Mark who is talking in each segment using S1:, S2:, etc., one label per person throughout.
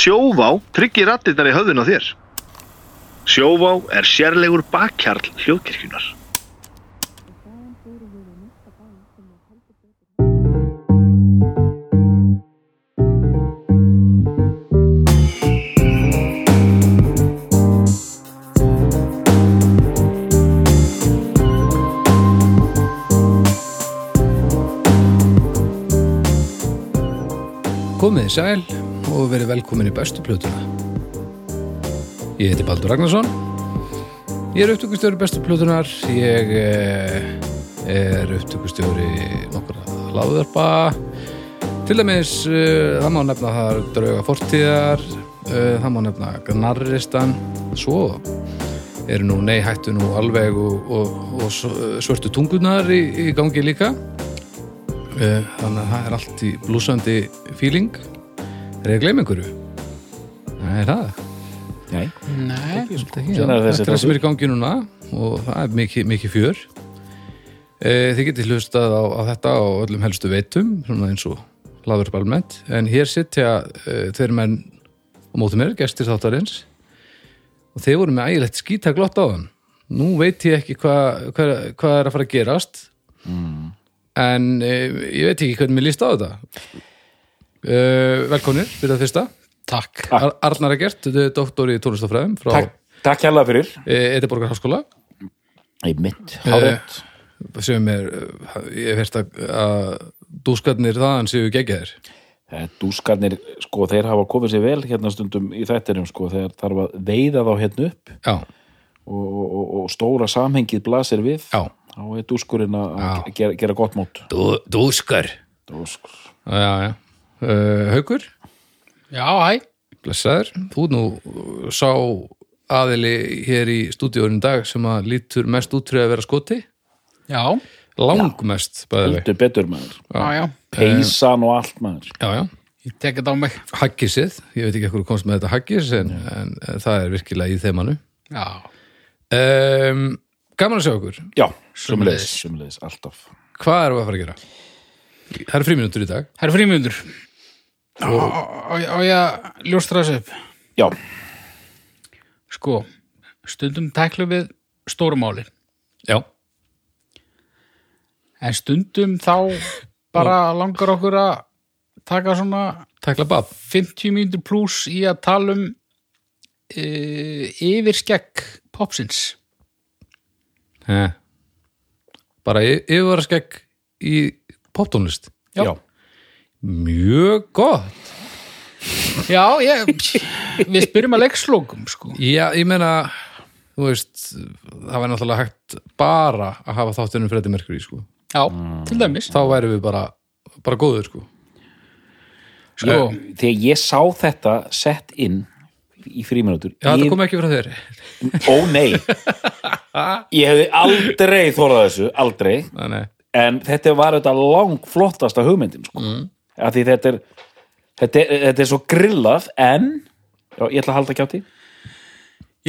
S1: sjóvá tryggir rattirnar í höfðun á þér. Sjóvá er sérlegur bakkjarl hljóðkirkjunar.
S2: Komið þið sæl og verið velkomin í bestu plötuna. Ég heiti Baldur Ragnarsson. Ég er upptökustjóri bestu plötunar. Ég eh, er upptökustjóri nokkura láðarpa. Til dæmis, eh, það má nefna þar drauga fortíðar, eh, það má nefna gnarristan, svo eru nú nei hættu nú alveg og, og, og s- eh, svörtu tungunar í, í gangi líka. Eh, þannig að það er allt í blúsandi feeling er ég að gleyma einhverju? Nei, það
S3: Nei.
S2: Nei, þetta ekki
S3: Hvenær
S2: Þetta er
S3: er þessi
S2: það sem
S3: þáttur?
S2: er í gangi núna og það er mikið, mikið fjör Eh, Þið getið hlustað á, á þetta á öllum helstu veitum svona eins og laður balment en hér sitja uh, tveir menn á móti mér, gestir þáttarins og þeir voru með ægilegt skýta glott á þann Nú veit ég ekki hvað hva, hva er að fara að gerast
S3: Mm.
S2: en uh, ég veit ekki hvernig mér líst á þetta uh, Velkonir, fyrir það fyrsta
S4: Takk.
S2: Ar Arnar Egert, þú er doktor í tónlistafræðum frá
S3: Takk, takk hérlega fyrir.
S2: Edeborgar Háskóla
S3: Einmitt, hárið.
S2: Eh, sem er, eh, ég hef hérst að, að dúskarnir þaðan séu geggjaðir
S3: Eh, Dúskarnir, sko, þeir hafa komið sér vel hérna stundum í þættinum, sko, þegar þarf að veiða þá hérna upp
S2: Já,
S3: og, og, og stóra samhengið blasir við.
S2: já
S3: Þá er dúskurinn að að gera, gera gott mót.
S2: Dú, Dúskar
S3: Dúskur.
S2: Já, já uh, Haukur,
S4: Já, hæ.
S2: blessaður Þú ert nú eh, sá aðili hér í stúdíóinu dag sem að lítur mest út fyrir að vera skoti
S4: Já,
S2: Langmest, bæðileg
S3: Heldur betur maður.
S2: Eh,
S4: já, já.
S3: Peysan og allt maður.
S2: Já, já
S4: Ég tek þetta á mig.
S2: Haggisið, ég veit ekki hvað komst með þetta haggis en, en, en það er virkilega í þeim hannu
S4: Já.
S2: um, Gaman að sjá okkur
S3: Já, sumleis. Sumleis, alltaf.
S2: Hvað erum við að fara að gera? Það eru fríminútur í dag
S4: Það eru frímjöndur. Á á- á ég að ljóstra þessu upp.
S3: Já,
S4: Sko, stundum tæklum við stórumáli,
S2: Já,
S4: en stundum þá bara langar okkur að taka svona
S2: takla bab
S4: 50 mínútur pluss í að tala um e, yfirskegg popsins.
S2: He. Bara yfirvara skegg í poptónlist
S4: Já.
S3: já.
S2: Mjög gott
S4: Já, ég, við spyrjum að leikslókum, sko.
S2: Já, ég meina, þú veist það væri náttúrulega hægt bara að hafa þáttunum Freddy Mercury sko.
S4: Já, til dæmis.
S2: þá væri við bara, bara góður sko. Eh,
S4: Sko,
S3: Þegar ég sá þetta sett inn í fríminútur,
S2: Já, þetta kom ekki frá þér
S3: Ó nei Ég hefði aldrei þórað þessu, aldrei
S2: Nei, nei.
S3: en þetta var auðvitað langflottasta hugmyndin sko. af því þetta er þetta er, þetta er svo grillað en já, ég ætla að halda kjátti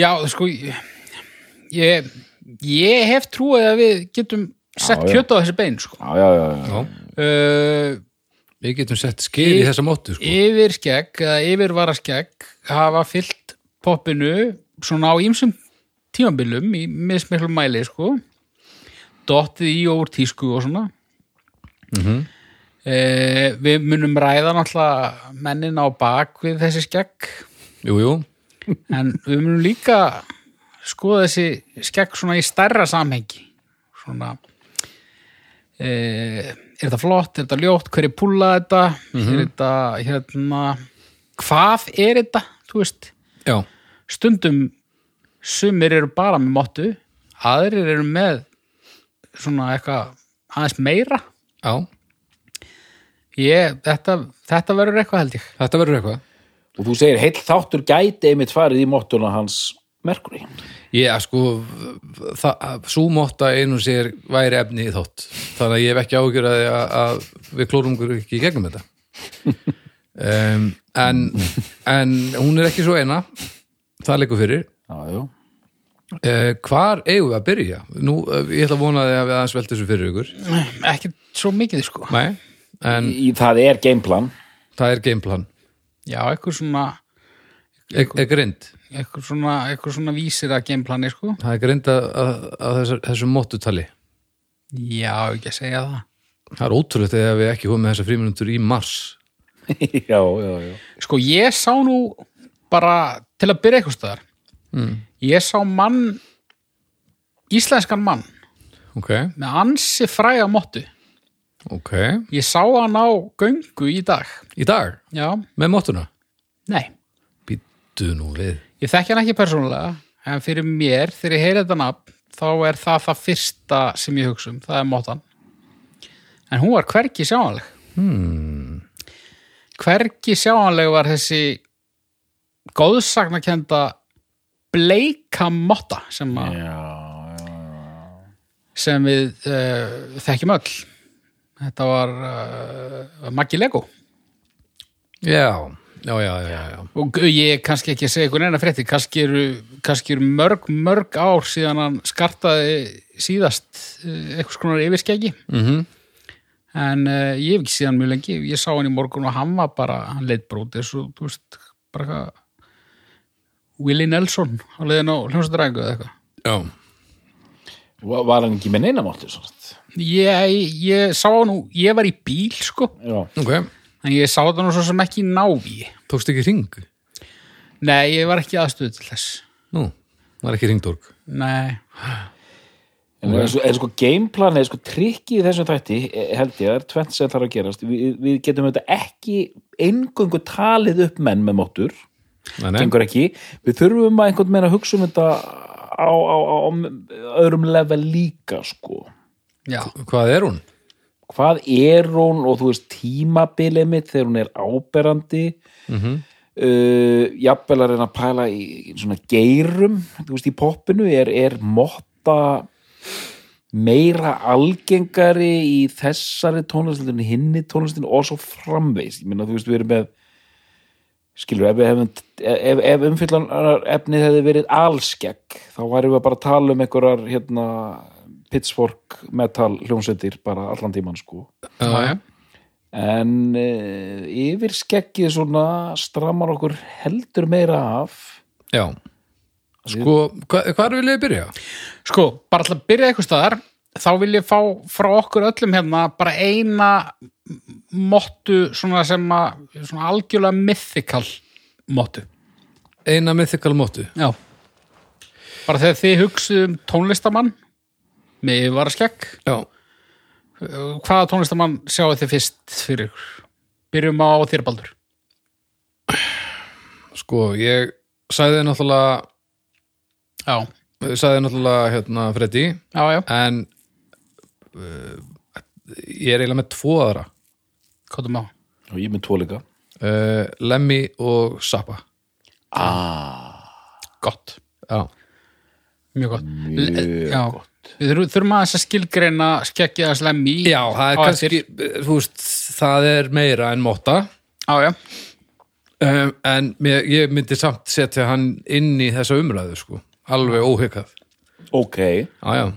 S4: Já, sko ég, ég, ég hef trúið að við getum sett
S3: já.
S4: kjöt á þessi bein sko.
S3: Já, já, já, já,
S2: Já,
S4: uh,
S2: Við getum sett skil í
S4: Í-
S2: þessa móttu sko.
S4: Yfir skegg eða yfirvara skegg hafa fyllt poppinu svona á ýmsum tímabilum í mismiklu mæli sko. dottið í og úr tísku og svona
S3: Mhm.
S4: Uh, við munum ræða náttúrulega mennin á bak við þessi skegg
S2: Jú, jú
S4: En við munum líka skoða þessi skekk svona í stærra samhengi. Svona, e, er þetta flott, er þetta ljótt, hver er púlað þetta, er þetta, hérna, hvað er þetta, þú veist,
S2: Já,
S4: stundum sumir eru bara með mottu, aðrir eru með svona eitthvað aðeins meira.
S2: já,
S4: Ég, þetta, þetta verður eitthvað held ég.
S2: þetta verður eitthvað
S3: og þú segir heill þáttur gæti einmitt farið í mottuna hans Merkuri
S2: Já, sko, svo mótta einu sér væri efni í þátt. Þannig að ég hef ekki ágjör að, að við klórum okkur ekki í gegnum þetta. Um, en, en hún er ekki svo eina, það leikur fyrir.
S3: Já, já,
S2: Uh, hvar eigum við að byrja? Nú, uh, ég ætla að vona að við aðeins velta þessu fyrir ykkur.
S4: Ekki svo mikið sko.
S2: Nei, en
S3: Í- það er gameplan
S2: það er gameplan.
S4: Já, eitthvað svona
S2: Er, er grind,
S4: eitthvað svona, eitthvað svona vísir að gameplani sko
S2: það er grind að, að, að þessu, þessu móttutali
S4: já, ekki að segja það
S2: það er ótrúlegt eða við ekki komum með þessar fríminútur í mars
S3: já, já, já.
S4: Sko ég sá nú bara til að byrja eitthvað stöðar ég sá mann íslenskan mann
S2: ok,
S4: með ansi fræga móttu
S2: ok,
S4: ég sá hann á göngu í dag
S2: í dag
S4: já,
S2: með móttuna,
S4: nei
S2: býttu nú við
S4: ég þekki hann ekki persónulega en fyrir mér, þegar ég heyri þetta nafn þá er það það fyrsta sem ég hugsa um það er móttan en hún var hvergi sjáanleg hmm. hvergi sjáanleg var þessi góðsagnakenda bleika motta sem, að, sem við uh, þekkjum öll þetta var uh, Maggi Lego
S2: já, já, já, já, já.
S4: og ég er kannski ekki að segja ykkur neina frétti kannski eru, kannski eru mörg, mörg ár síðan hann skartaði síðast eh, einhvers konar yfirskeggi
S2: Mm
S4: en uh, ég hef ekki síðan mjög lengi ég sá hann í morgun og hann var bara hann leitt brótis og þú veist bara eitthvað Willie Nelson á leiðin á hljómsdræðingu eða eitthvað
S2: já,
S3: Va- var hann ekki með neina máttu svart
S4: ég, ég sá hann nú, ég var í bíl sko
S3: já,
S2: ok
S4: en ég sá það nú svo sem ekki í náví
S2: tókst ekki ring
S4: nei, ég var ekki aðstöðu til þess
S2: nú, var ekki ringdorg
S4: nei,
S3: en okay. sko, en sko gameplanið, sko trikkið í þessum þætti, eh, held ég, það er tvennt sem þarf að gerast, Vi, við getum auðvitað ekki eingöngu talið upp menn með móttur,
S2: Nei, nei.
S3: gengur ekki við þurfum að einhvern meina að hugsa um þetta á, á, á, á öðrum level líka, sko
S4: já
S2: hvað er hún?
S3: hvað er hún og þú veist tímabilið mitt þegar hún er áberandi uh, jafnvel að reyna að pæla í, í svona geirum, þú veist í poppinu er, er motta meira algengari í þessari tónlistinu hinni tónlistinu og svo framvegs ég minna þú veist við erum með skilur, ef, við hefum, ef, ef umfyllan efnið hefði verið allskegg þá værum við bara að tala um einhverjar hérna, pitchfork metal hljómsveitir bara allan tíman sko
S4: Já, já.
S3: en e, yfir skeggið svona stramar okkur heldur meira af
S2: já, sko hva, hvað vil ég byrja?
S4: Sko, bara alltaf að byrja eitthvað staðar þá vil ég fá frá okkur öllum hérna bara eina mottu svona sem að svona algjörlega mythical mottu.
S2: eina mythical móttu
S4: Já. Bara þegar þið hugsið um tónlistamann með yfirvaraskegg
S2: já,
S4: hvaða tónlistamann sjáu þið fyrst fyrir ykkur? Byrjum á þér Baldur.
S2: sko, ég sagði náttúrulega
S4: Já.
S2: sagði náttúrulega hérna Freddy
S4: Já, já.
S2: en uh, ég er eiginlega með tvo aðra
S4: Kottum á.
S3: og ég er með tvo líka
S2: uh, Lemmy og Zappa
S4: Gott.
S2: já,
S4: Mjög gott. Mjög já. gott. Við þurfum- þurfum aðeins að skilgreina skeggið að slemmi í.
S2: já það er
S4: á eftir.
S2: kannski eh, þú veist, það er meira en móta
S4: Já, já.
S2: um, en mér, ég myndi samt setja hann inn í þessa umræðu sko, alveg óhyggjað
S3: ok,
S2: já, já,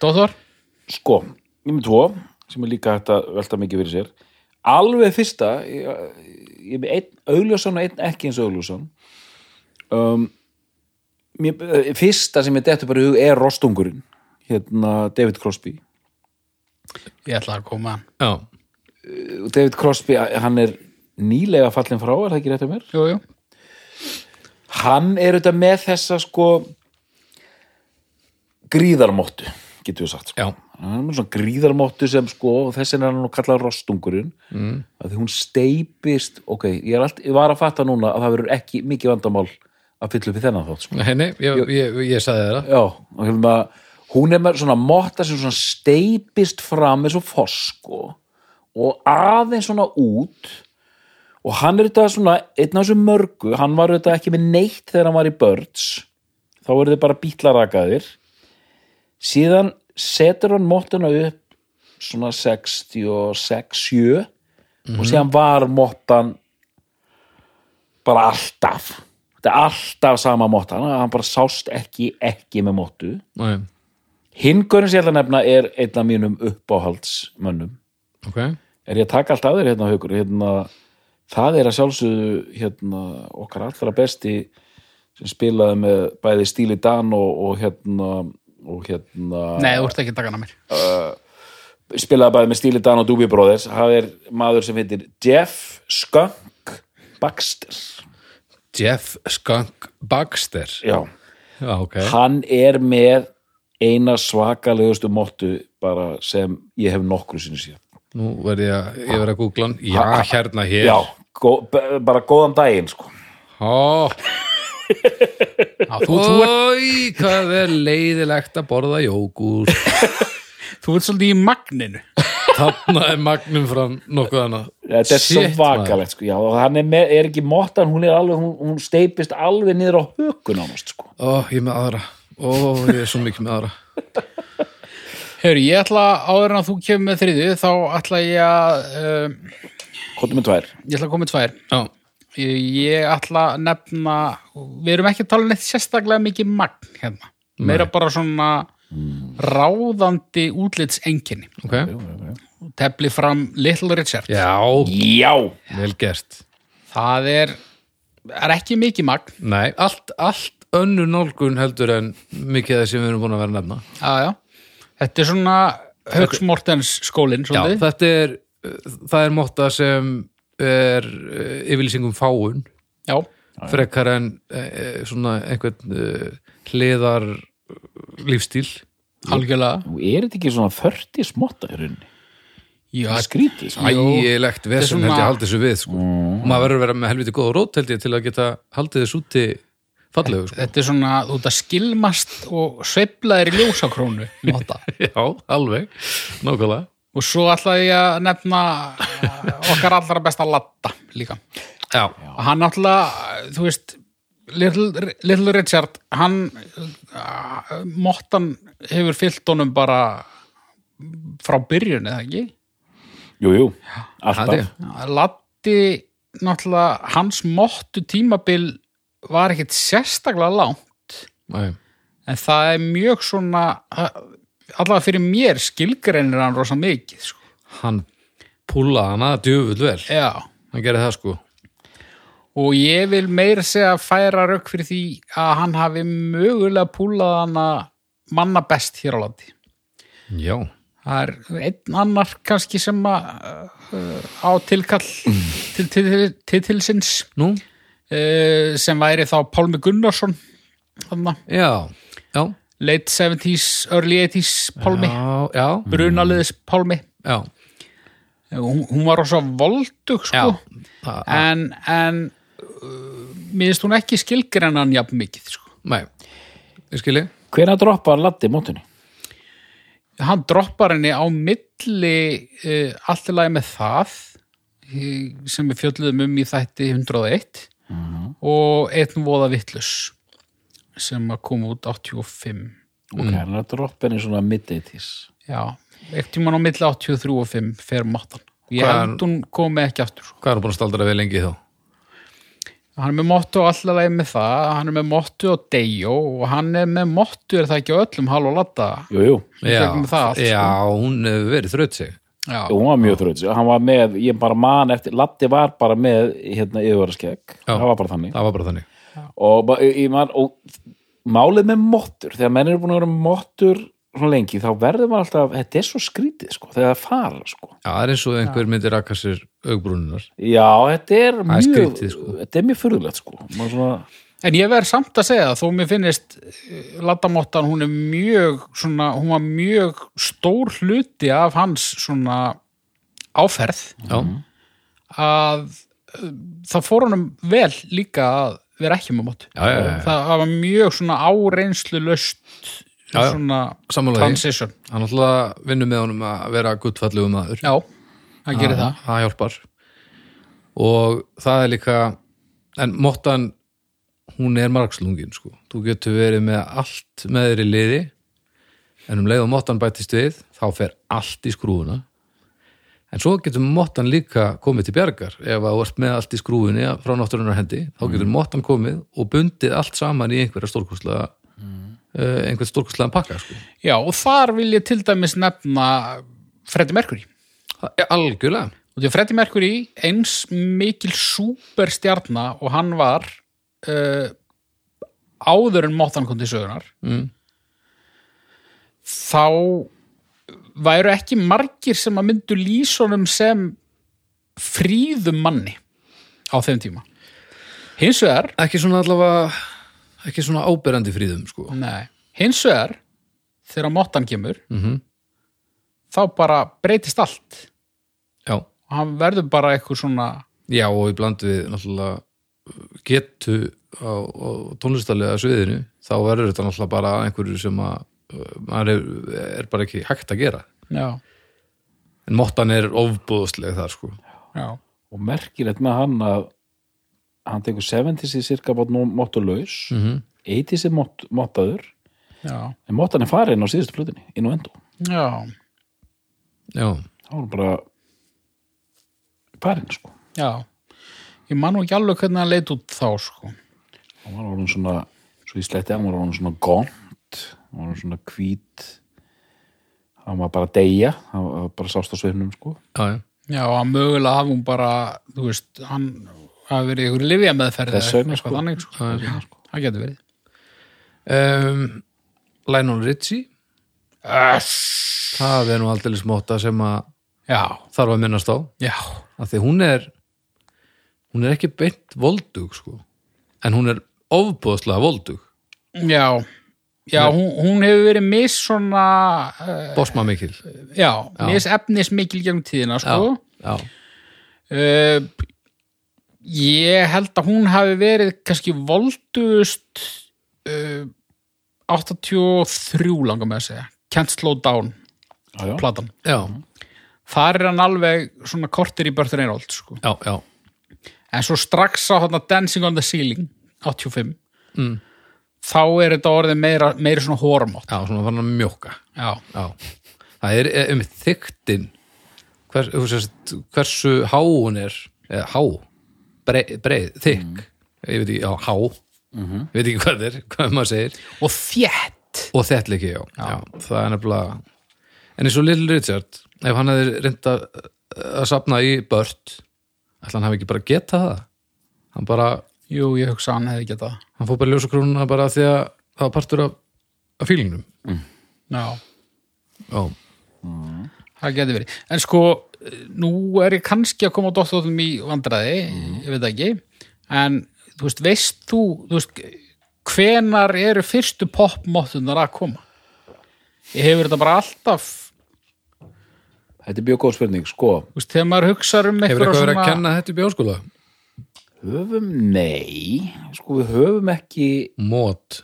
S4: Dóþór?
S3: sko, ég er með tvo sem er líka hægt að velta mikið fyrir sér alveg fyrsta ég, ég er með einn augljósan og einn ekki eins augljósan um, mér, eh, fyrsta sem ég dettur bara í hug er Rostungurinn hérna David Crosby
S4: Ég ætla að koma hann.
S2: já,
S3: Og David Crosby, hann er nýlega fallin frá, er það ekki rétt að mér?
S4: Jú, jú.
S3: Hann er auðvitað með þessa sko gríðarmóttu, getur við sagt sko.
S2: já,
S3: Hann er með svona gríðarmóttu sem sko og þessin er hann nú kallað rostungurinn mm. að því hún steipist ok, ég, er allt, ég var að fatta núna að það verður ekki mikið vandamál að fylla upp í þennan þátt sko.
S2: henni, ég, ég, ég sagði það
S3: Já, og hérna hún er með svona motta sem svona steipist fram eins og fosko og aðeins svona út og hann er þetta svona einn af þessum mörgu, hann var þetta ekki með neitt þegar hann var í Birds þá eru þið bara bítlarakaðir síðan setur hann mottuna upp svona 66, 7 og síðan var mottan bara alltaf þetta er alltaf sama motta hann- hann bara sást ekki, ekki með mottu
S2: Nei,
S3: hingurinn sem ég ætla að nefna er einn af mínum uppáhaldsmönnum
S2: ok,
S3: er ég að taka allt af þér hérna haukur hérna það er að sjálfsögðu hérna, okkar allra besti sem spilaði með bæði Stíli Dan og, og hérna og hérna
S4: Nei, þú ert ekki að taka hana mér
S3: spilaði bæði með Stíli Dan og Doobie Brothers það er maður sem heitir Jeff Skunk Baxter
S2: Jeff Skunk Baxter
S3: já,
S2: Já, ok
S3: hann er með eina svakalegustu mottu bara sem ég hef nokkru sinni séð
S2: Nú verð ég að, ég verð að googla hann Já, hérna hér
S3: já, gó, b- bara góðan daginn sko.
S2: Ó,
S4: Já, þú, þú, ert,
S2: Ói, hvað er leiðilegt að borða jógúr
S4: þú ert svolítið í magninu
S2: Þarna er magnum fram nokkuð annað
S3: þetta er
S2: Shit, maður.
S3: svakalegt sko. já, og hann er, með, er ekki mottan hún, er alveg, hún, hún steipist alveg niður á hökun ánast sko.
S2: Ó, ég er með aðra Ó, ég er svo mikið með aðra
S4: Hörru, ég ætla áður en að þú kemur með þriðju þá ætla ég að um,
S3: hvað með tvær?
S4: ég ætla að koma með tvær
S2: Já,
S4: ég, ég ætla að nefna við erum ekki að tala um neitt sérstaklega mikið magn hérna, meira bara svona ráðandi útlitsenginni
S2: ok
S4: tefli fram Little Richard
S2: Já,
S3: já,
S2: vel gert
S4: það er, er ekki mikið magn
S2: Nei, allt, allt önnur nálgun heldur en mikið af það sem við erum búin að vera að nefna
S4: já, já. þetta er svona Hauks Mortens skólinn
S2: Já,
S4: svolítið.
S2: þetta er, það er motta sem er eh, yfirlýsing um fáun
S4: já,
S2: frekar en eh, svona einhvern eh, hliðar eh, lífstíl
S4: algjörlega
S3: Nú, er þetta ekki svona 30 smotta í rauninni?
S4: já,
S3: Það er skrítið sko.
S4: Jú.
S2: Ægilegt vesen
S4: Þetta
S2: held ég
S4: er svona- Mm.
S2: að haldi þessu við sko. maður verður að vera með helviti góða rót held ég til að geta haldið þessu úti fallegu sko.
S4: þetta er svona þú ert að skilmast og sveiflaðir í ljósakrónu nota.
S2: Já, alveg, nákvæmlega
S4: og svo ætla ég að nefna uh, okkar allra besta latta líka
S2: Já,
S4: og hann náttúrulega, þú veist Little, Little Richard hann uh, mottan hefur fyllt honum bara frá byrjun eða ekki
S3: jú, jú,
S2: það er
S3: alltaf
S4: Latti náttúrulega hans mottu tímabil var ekkit sérstaklega langt
S2: Nei.
S4: en það er mjög svona allavega fyrir mér skilgreinir hann rosa mikið sko.
S2: hann púlaði hana djöfull vel
S4: já
S2: hann gerði það sko
S4: Og ég vil meira segja að færa rauk fyrir því að hann hafi mögulega púlað hana manna best hér á landi.
S2: Já,
S4: Það er einn annar kannski sem að, uh, á tilkall til titil- titilsins
S2: nú,
S4: uh, sem væri þá Pálmi Gunnarsson, þarna,
S2: já Já,
S4: late 70s, early 80s Pálmi,
S2: já, já,
S4: brunaliðis Pálmi.
S2: já.
S4: Hún, hún var rosa voldug, sko,
S2: Það-
S4: en, en uh, miðist hún ekki skilgrennan jafn mikið, sko.
S2: Nei, ég skilji
S3: hvena droppar Latti mótunni?
S4: hann droppar henni á milli uh, allt í lagi með það eh, sem við fjöldluðum um í þætti 101 og einn voða vittlus sem að koma út 85
S2: Mm.
S3: ok, hann er að droppa henni svona mid-80s
S4: já, ekkert tímann á milli 83 og 5 fer mottan ég
S2: Hvað-
S4: held hún komi ekki aftur sko.
S2: Hvað er hann búin að staldra við lengi þá?
S4: hann er með mottu á allt í lagi með það hann er með mottu á Dejo og hann er með mottu er það ekki á öllum hal og latta
S3: jú, jú,
S4: Í gegnum það allt, sko.
S2: já hún hefur verið þraut sig
S4: já,
S3: Jú, hún var mjög þrjótt hann var með, ég bara man eftir Latti var bara með hérna yfirvaraskegg
S2: Já.
S3: það var bara þannig
S2: Það var bara þannig
S3: og, ba- ég- ég man, og málið með mottur, þegar menn eru búin að vera með mottur svona lengi, þá verður maður alltaf þetta er svo skrítið, sko, þegar það fara sko.
S2: Já, það er eins og einhver myndi raka sér augbrúninar
S3: já, þetta er
S2: er
S3: mjög
S2: skrítið, sko.
S3: þetta er mjög fyrirlegt, sko Maður svona,
S4: En ég verð samt að segja það, þó mér finnist eh, Laddamottan, hún er mjög svona, hún var mjög stór hluti af hans svona áferð
S2: Já,
S4: að uh, það fór honum vel líka að vera ekki með mótt.
S2: Já, já, já, já.
S4: Það var mjög svona áreynslu löst
S2: Já, já.
S4: svona
S2: Sammála því.
S4: transition.
S2: hann alltaf vinnur með honum að vera guttfallegu maður
S4: Já, það gerir það.
S2: Það hjálpar Og það er líka En mottan, hún er margslungin sko. Þú getur verið með allt með þeirri liði En um leið og mottan bætist við Þá fer allt í skrúfuna En svo getur mottan líka komið til bjargar ef að þú ert með allt í skrúfunni frá náttúrunar hendi, þá getur mottan komið og bundið allt saman í einhverja stórkurslega mm. einhvern stórkurslega pakka sko.
S4: Já, og þar vil ég til dæmis nefna Freddy Mercury.
S2: Það er algjörlega
S4: Og og því að Freddie Mercury eins mikil superstjarna og hann var uh, áður en móttan kom til sögunar
S2: Mm.
S4: þá væru ekki margir sem að myndu lýsonum sem fríðum manni á þeim tíma hins vegar
S2: Ekki svona allavega, ekki svona áberandi fríðum, sko.
S4: Nei, hins vegar þegar mottan kemur
S2: Mhm.
S4: þá bara breytist allt
S2: Já.
S4: og hann verður bara eitthvað svona
S2: Já, og í bland við náttúrulega uh, getu á, á tónlistalega sviðinu, þá verður þetta náttúrulega bara að einhverju sem að uh, maður er, er bara ekki hægt að gera.
S4: já,
S2: En mottan er ofbúðslega þar, sko.
S4: já,
S3: og merkilegt með hann að hann tekur 70s í cirka mottulaus mm
S2: Mhm.
S3: -hmm. 80s er mott- mottaður
S4: já,
S3: en mottan er farin á síðustu flutinni inn og endó,
S4: já,
S2: Já.
S3: þá er hann bara farin sko
S4: já. ég man nú ekki alveg hvernig hann leit út þá sko.
S3: hann var orðin svona svo ég sletti, hann var orðin svona gont hann var orðin svona hvít hann var bara að deyja hann var bara sást á sveifnum sko
S2: Já, já.
S4: já, hann mögulega hafði hún bara þú veist, hann hafi verið ykkur lifja meðferð
S3: Þess vegna, sko.
S4: þannig, sko. Já, það getur verið
S2: Um, Lionel Richie,
S4: Öss.
S2: það er nú aldeilis motta sem að
S4: já,
S2: þarf að minnast á.
S4: já,
S2: Af því hún er, hún er ekki beint voldug, sko. En hún er ofbúðslega voldug.
S4: já já, hún, hún hefur verið mis svona uh,
S2: Bosma mikil.
S4: já, mis efnis mikil gegnum tíðina sko.
S2: Já.
S4: uh, ég held að hún hafi verið kannski voldust uh, 83 langar með að segja Can't Slow Down,
S3: já, já.
S4: platan
S2: Já,
S4: þar er hann alveg svona kortir í Börður Einhold sko.
S2: já, já.
S4: en svo strax á hana, Dancing on the Ceiling 85 Mm. þá er þetta orðið meira, meira svona hormótt
S2: Já, svona fann að mjóka.
S4: já,
S2: Já, það er e- einmitt þyktin Hvers, þú sést, hversu há hún er eða há, breið, breið þykk, ég veit ekki, já, há ég veit ekki hvað það er, hvað maður segir
S4: og þétt
S2: og þetta líki, já. já, það er nefnilega en eins og Little Richard ef hann hefði reynd að, að safna í bört, ætla hann hafi ekki bara geta það hann bara,
S4: jú, ég hugsa að hann hefði getað það.
S2: hann fór bara ljósa krónuna bara af því að það var partur af, af fílingnum
S4: já
S2: já,
S4: Það getur verið. En sko, nú er ég kannski að koma á dottóðum í vandræði,
S2: Mhm.
S4: ég veit það ekki, en þú veist, veist þú, þú veist, hvenar eru fyrstu popmóttunar að koma? Ég hefur þetta bara alltaf,
S3: þetta er mjög góð spurning sko
S4: þú veist, þegar maður hugsar
S2: hefur
S4: um einhverja
S2: eitthvað verið að kenna þetta í bjóskóla?
S3: höfum, nei sko við höfum ekki
S2: Mót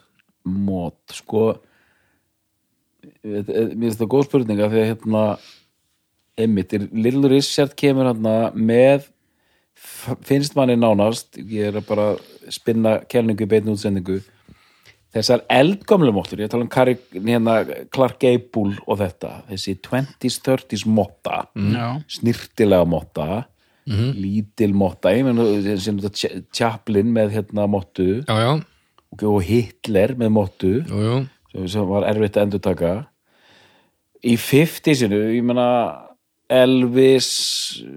S3: mót sko eh, eh, mér finnst það góð spurning af því að hérna einmitt, er- Little Richard kemur hérna með f- finnst manni nánast ég er að bara spinna kelningu í beinni útsendingu þessar eldgamlu móttur, ég tala um Kari, hérna, Clark Gable og þetta þessi 20s, 30s motta
S4: Já,
S3: snirtilega motta lítil motta ég menn, sem þetta Cha- Chaplin með hérna mottu
S2: Já, já,
S3: og Hitler með mottu
S2: jú, jú.
S3: sem, sem var erfitt að endurtaka í 50-sinu ég meina Elvis uh,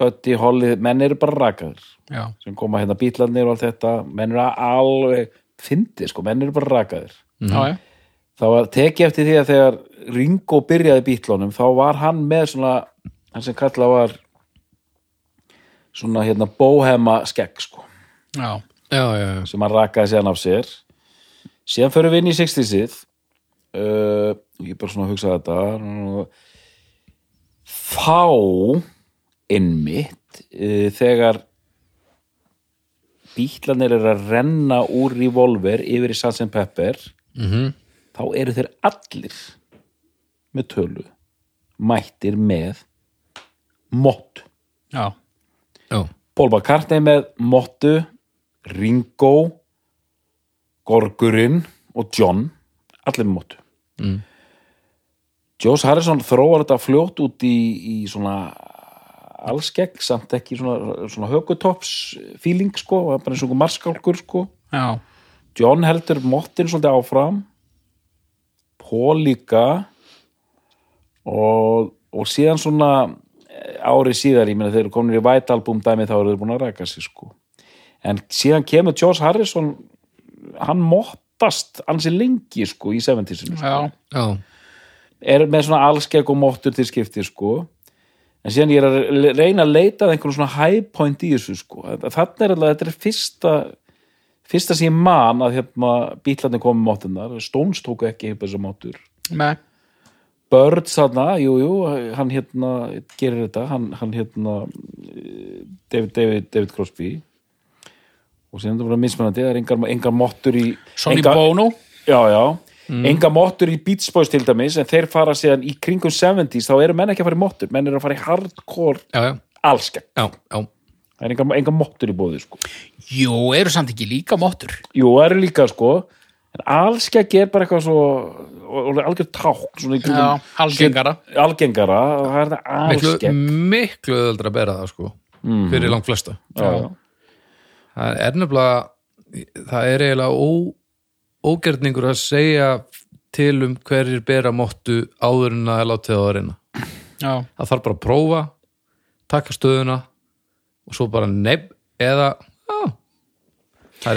S3: Buddy Holly menn eru bara rakaður
S4: já,
S3: sem koma hérna bítlarnir og allt þetta menn eru alveg fyndið sko, menn eru bara rakaður
S2: Mhm.
S4: já, já,
S3: það var tekið eftir því að þegar Ringo byrjaði bítlunum þá var hann með svona hann sem kallað var svona hérna bóhema skegg sko
S4: já,
S2: já, já, já.
S3: sem hann rakaði síðan af sér síðan förum við inn í 60-sið uh, ég bara svona að hugsa þetta þá innmitt uh, þegar bítlanir eru að renna úr revolver yfir í Salt and Pepper þá eru þeir allir með tölu mættir með mott
S4: já,
S2: já.
S3: Paul McCartney með Mottu, Ringo, Gorgurinn og John, allir með Mottu. Mm. Joss Harrison þróar þetta fljótt út í, í svona allskegg, samt ekki svona, svona högutops feeling sko, var bara eins og einhver marskálkur sko.
S4: já,
S3: John heldur Mottin svolítið áfram, Paul líka og, og síðan svona eh, ári síðar, ég meina þeir eru komin í White Album dæmi þá eru þeir búin að ræka sig sko en síðan kemur Josh Harrison hann móttast ansi lengi sko í 70-sinu sko.
S4: já,
S2: já,
S3: er með svona allskegg og móttur til skipti sko en síðan ég er að le- reyna að leita að einhvern svona high point í þessu sko þannig er alltaf, þetta er fyrsta fyrsta sem ég man að hérna bílarnir komið móttunar, Stones tóku ekki upp þessa móttur
S4: með
S3: Birds þarna, jú, jú, hann hérna gerir þetta, hann, hann hérna eh, David, David, David Crosby og síðan það var mismunandi, það er engar, engar mottur í
S4: Sonny
S3: engar,
S4: Bono
S3: Já, já, engar mottur í Beach Boys til dæmis, en þeir fara síðan í kringum 70s, þá eru menn ekki að fara í mottur menn eru að fara í hardcore
S2: já, já,
S3: allskja,
S2: já, já.
S3: það er engar, engar mottur í bóði sko.
S4: jú, eru samt ekki líka móttur
S3: Jú, það eru líka sko en allskja ger bara eitthvað svo og- og algjör tákn, svona í
S4: já,
S3: kringum
S4: algengara
S3: algengara, það er það
S2: miklu,
S3: allskja
S2: miklu öðuldra að bera það sko fyrir langt flesta
S3: já.
S2: það er nefnilega það er eiginlega ó, ógerningur að segja til um hverjir bera móttu áður en að það er látið á að reyna
S4: já,
S2: það þarf bara að prófa taka stöðuna og svo bara nefn eða á, það er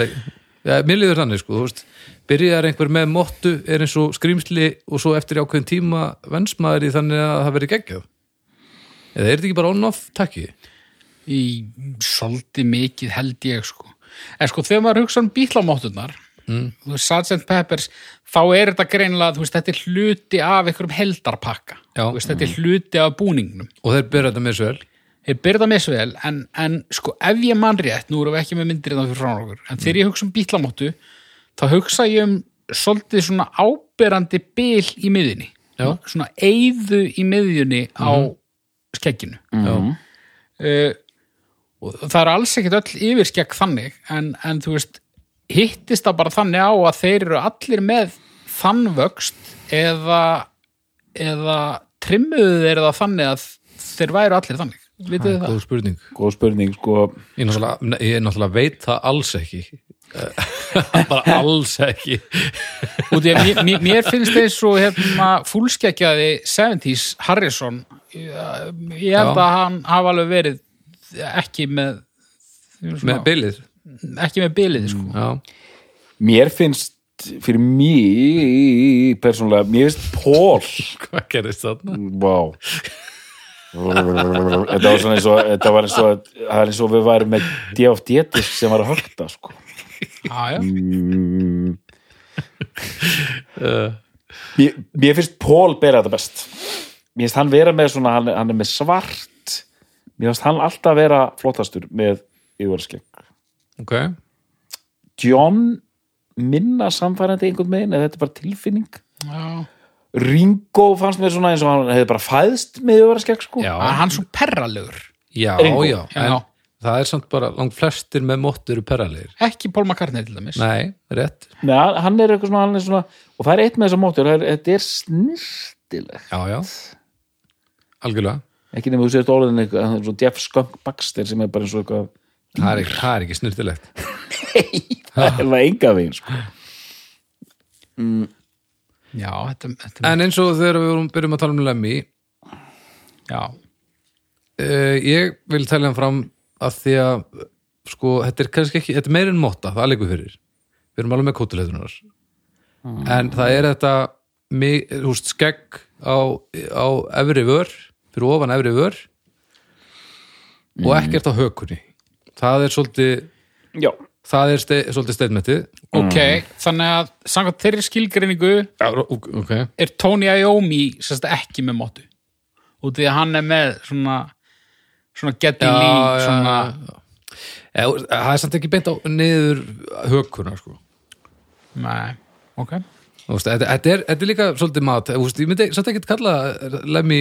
S2: ja, mér líður þannig sko, þú veist byrjaðar einhver með móttu er eins og skrýmsli og svo eftir ákveðin tíma vensmaður í þannig að það verið geggjað eða er þetta ekki bara on-off takki?
S4: í svolítið mikið held ég sko en sko þegar maður hugsa um bílamótturnar mm. þú veist, Sgt. Peppers þá er þetta greinilega, þú veist, þetta er hluti af einhverjum heldarpakka
S2: Já. Mm.
S4: Þú veist, þetta er hluti af búningnum
S2: og þeir byrja þetta með svo vel
S4: þeir byrða mér svo vel, en, en sko ef ég mann rétt, nú erum við ekki með myndir þannig fyrir frá okkur, en þegar ég hugsa um bílamóttu þá hugsa ég um svolítið svona áberandi bil í miðjunni,
S2: Já. Mhm.
S4: svona eyðu í miðjunni á skegginu
S2: Já.
S4: uh, og það eru alls ekkert öll yfirskegg þannig en, en þú veist, hittist það bara þannig á að þeir eru allir með þann vöxt eða, eða trimmuðu þeir það þannig að þeir væru allir þannig vitið þið það?
S2: góð spurning
S3: Góð spurning, sko.
S2: ég náttúrulega, ég náttúrulega veit það alls ekki Eh, bara alls ekki
S4: Út í að mér- mér, mér finnst þeir svo hérna, fúlskeggjaði 70s Harrison ég ég held
S2: Já.
S4: að hann hafa alveg verið ekki með,
S2: með Mm. bilið
S4: ekki með bilið sko.
S2: já,
S3: Mér finnst, fyrir mig persónulega, mér finnst Pól
S2: hvað gerist þarna?
S3: Vá Þetta var svona eins og þetta var eins og, það er eins og við varum með DFD-disk sem var að hölta sko.
S4: Já, já.
S3: mm. mér, mér finnst Pól bera þetta best Mér finnst hann vera með svona, hann, er- hann er með svart Mér finnst hann alltaf vera flottastur með yfirskegg
S2: ok,
S3: John minna samfærandi einhvern veginn eða þetta er bara tilfinning
S4: já.
S3: Ringo fannst mér svona eins og hann hefði bara fæðst með öfraskegg sko
S2: já,
S4: Að hann er svo perralegur
S2: já,
S3: Ringo.
S2: já en
S4: Já.
S2: það er samt bara, langt flestir með mótt eru perralegir
S4: ekki Paul McCartney til dæmis
S2: nei, rétt,
S3: Nei, hann hann er eitthvað svona, hann er svona og það er eitt með þessar mótur, það er, þetta er snirtilegt
S2: já, já algjörlega,
S3: ekki nema þú sért ólega eitthvað, hann er svona Jeff Skunk Baxter sem er bara eins og eitthvað
S2: það er, ekki- það er ekki snirtilegt
S3: það er það enga veginn sko
S4: já, þetta, þetta
S2: en eins og þegar við vorum byrjum að tala um Lemmy
S4: já,
S2: Uh, ég vil tala hann fram að því að sko, þetta er kannski ekki, þetta er meir en móta það liggur fyrir, við erum alveg með kótuleitunar en það er þetta mig, húst, skegg á, á efri vör fyrir ofan efri vör og ekkert á hökunni það er svolítið
S3: já,
S2: það er ste, svolítið statementið
S4: ok
S2: Mm.
S4: þannig að samkvæmt þeirri skilgreiningu
S2: Já, ok,
S4: er Tony Iommi sérst ekki með móttu út því að hann er með svona svona getty
S2: Já,
S4: lean
S2: já,
S4: svona,
S2: Eða, þú- það er samt ekki beint á niður hökunna sko
S4: nei, ok
S2: Þú veist, Þetta þetta er, þetta er líka svolítið mat Þú veist, Ég myndi samt ekki kalla Lemmy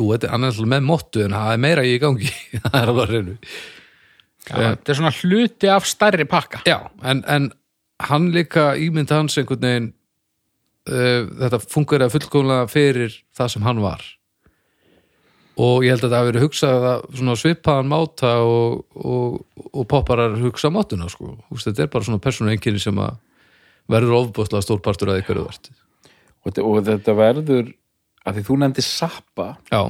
S2: ú, þetta er annars með mottu en það er meira í gangi það er alveg að reynu
S4: já, þetta er svona hluti af stærri pakka
S2: Já, en, en hann líka ímynd hans einhvern veginn uh, þetta fungur að fullkomlega fyrir það sem hann var og ég held að það hafi verið hugsað að svona svipaðan máta og, og, og popparar hugsa mátuna sko. Þú veist, þetta er bara svona persónu einkenni sem að verður ofbúðslega stórpartur að ykkur þú ert
S3: og þetta, og þetta verður að því þú nefndi Zappa
S2: Já,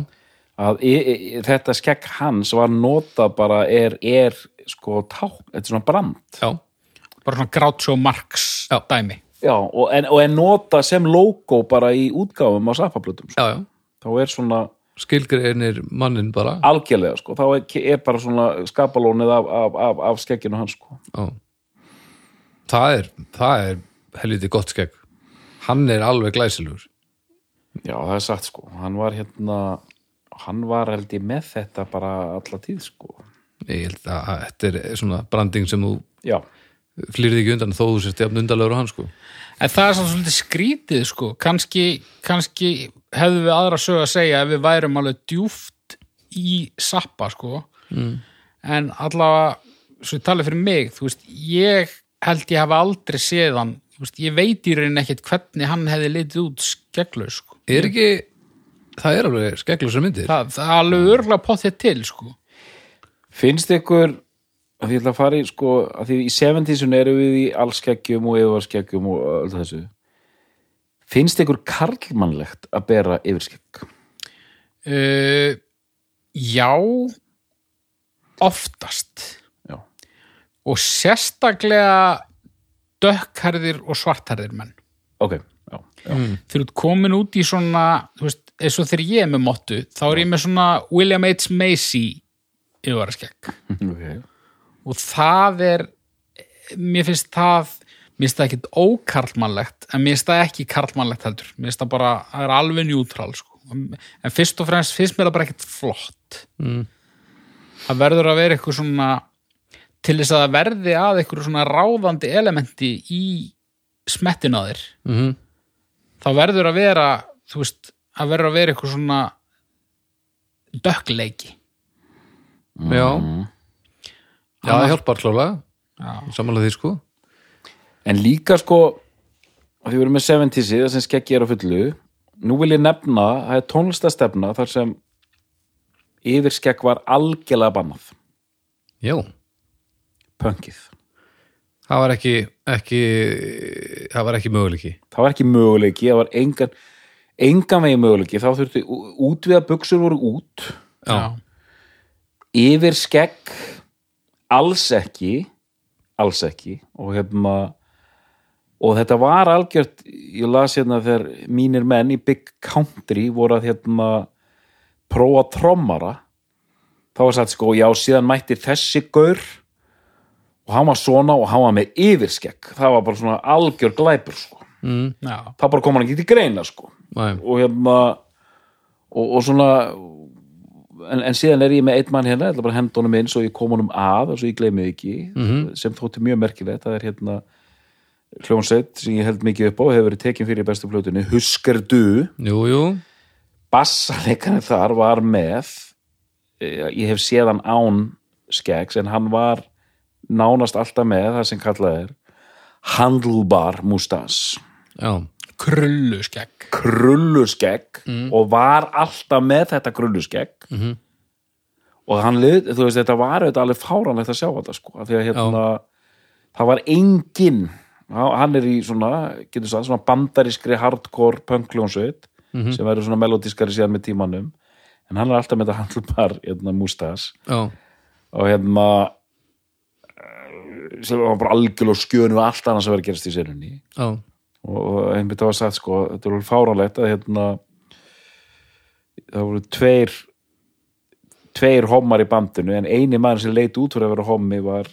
S3: að e, e, e- þetta skegg hans var notað bara er, er sko tákn, þetta er svona brand
S2: já,
S4: bara svona Groucho Marx
S2: Já.
S4: dæmi
S3: já, og, en, og er notað sem logo bara í útgáfum á sappablötum sko.
S2: já, já.
S3: þá er svona
S2: skilgreinir mannin bara
S3: algjörlega sko, þá er, er bara svona skapalónið af, af, af, af skegginu hans sko.
S2: já. það er það er helviti gott skegg hann er alveg glæsilegur
S3: já, það er satt sko, hann var hérna hann var held ég með þetta bara alla tíð sko,
S2: ég held að að þetta er svona branding sem þú
S3: já
S2: flýrði ekki undan þó þú sérst jafn undarlegur á hann sko
S4: en það er samt svolítið skrítið sko kannski, kannski hefðum við aðra sög að segja ef við værum alveg djúft í sappa sko mm. en allavega svo ég tala fyrir mig, þú veist ég held ég hafa aldrei séð hann þú veist, ég veit í rauninni ekkert hvernig hann hefði litið út skegglaus sko
S2: er ekki, það er alveg skegglusar myndir
S4: það, það er alveg örgulega potið til sko
S3: finnst ykkur að því ég ætla að fara í sko að því í 70s erum við í allskeggjum og yfirvarskeggjum og öll þessu finnst ykkur karlmannlegt að bera yfirskegg
S4: Uh, já, oftast.
S3: já,
S4: Og sérstaklega dökkarðir og svartarðir menn.
S3: ok, já, já.
S4: Þegar þú ert komin út í svona, þú veist, eins og þegar ég er með mottu, þá er ég með svona William H. Macy yfirvaraskegg.
S3: Mm, ok
S4: Og það er, mér finnst það, mér finnst það ekkit ókarlmannlegt, en mér finnst það ekki karlmannlegt heldur. Mér finnst það bara, það er alveg njútrál, sko. En fyrst og fremst finnst mér það bara ekkit flott.
S2: mm.
S4: það verður að vera eitthvað svona til þess að það verði að eitthvað svona ráðandi elementi í smettin á þér
S2: Mm -hmm.
S4: þá verður að vera þú veist, það verður að vera eitthvað svona dökkleiki
S2: já já, það hjálpar klálega
S4: Já.
S2: samanlega því sko
S3: En líka sko að því við erum með 70s það sem skeggi er á fullu nú vil ég nefna, það er tónlistastefna þar sem yfir skegg var algjörlega bannað
S2: já,
S3: pönkið.
S2: það var ekki, ekki það var ekki möguleiki
S3: Það var ekki möguleiki, það var engan engan veginn möguleiki, þá þurfti útviða buksur voru út
S2: já,
S3: yfir skegg alls ekki alls ekki og hefna og þetta var algjört ég las hérna þegar mínir menn í Big Country voru að hérna prófa trommara þá var sagt sko já síðan mætti þessi gaur og hann var svona og hann var með yfirskegg það var bara svona algjör glæpur sko
S2: mm.
S4: já,
S3: það bara kom hann ekki til greina sko
S2: næ,
S3: og hérna og, og svona en, en síðan er ég með einn mann hérna ég ætla bara að henda honum inn svo ég kom honum að og svo ég gleymi því ekki
S2: Mhm.
S3: sem þótti mjög merkilegt það er hérna hljónsveit sem ég held mikið upp á hefur verið tekin fyrir í bestu plötunni Husker Du
S2: jú, jú
S3: bassalekarinn þar var með eh, ég hef séð hann án skeggs en hann var nánast alltaf með það sem kallað er handlbar mustache
S2: já,
S4: krullu skegg
S3: krulluskegg og var alltaf með þetta krulluskegg
S2: Mhm.
S3: og hann lið, þú veist, þetta var auðvitað alveg fáranlegt að sjá þetta sko, af því að hérna það var engin hann er í svona, getur sagt, svona bandarískri hardcore punkljónsveit mm sem verður svona melodískari síðan með tímanum en hann er alltaf með þetta handlubar hérna, mústas
S2: já,
S3: og hérna eh, sem var bara algjörlega skjönu allt annars að vera að gerast í sérunni
S2: já,
S3: og einmitt það var sagt sko þetta er alveg fáralegt að hérna það voru tveir tveir homar í bandinu en eini maður sem leit út fyrir að vera homi var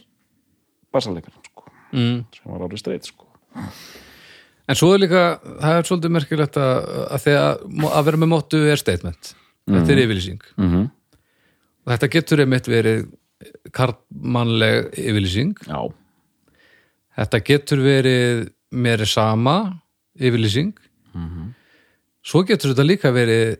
S3: basaleikarinn sko
S2: mm.
S3: sem var alveg streit sko
S2: En svo er líka, það er svolítið merkilegt að, að þegar að vera með móttu er statement. Þetta er yfirlýsing.
S3: mm -hmm.
S2: Og þetta getur einmitt verið karlmannleg yfirlýsing.
S3: já,
S2: Þetta getur verið mér er sama yfirlýsing.
S3: Mhm.
S2: Svo getur þetta líka verið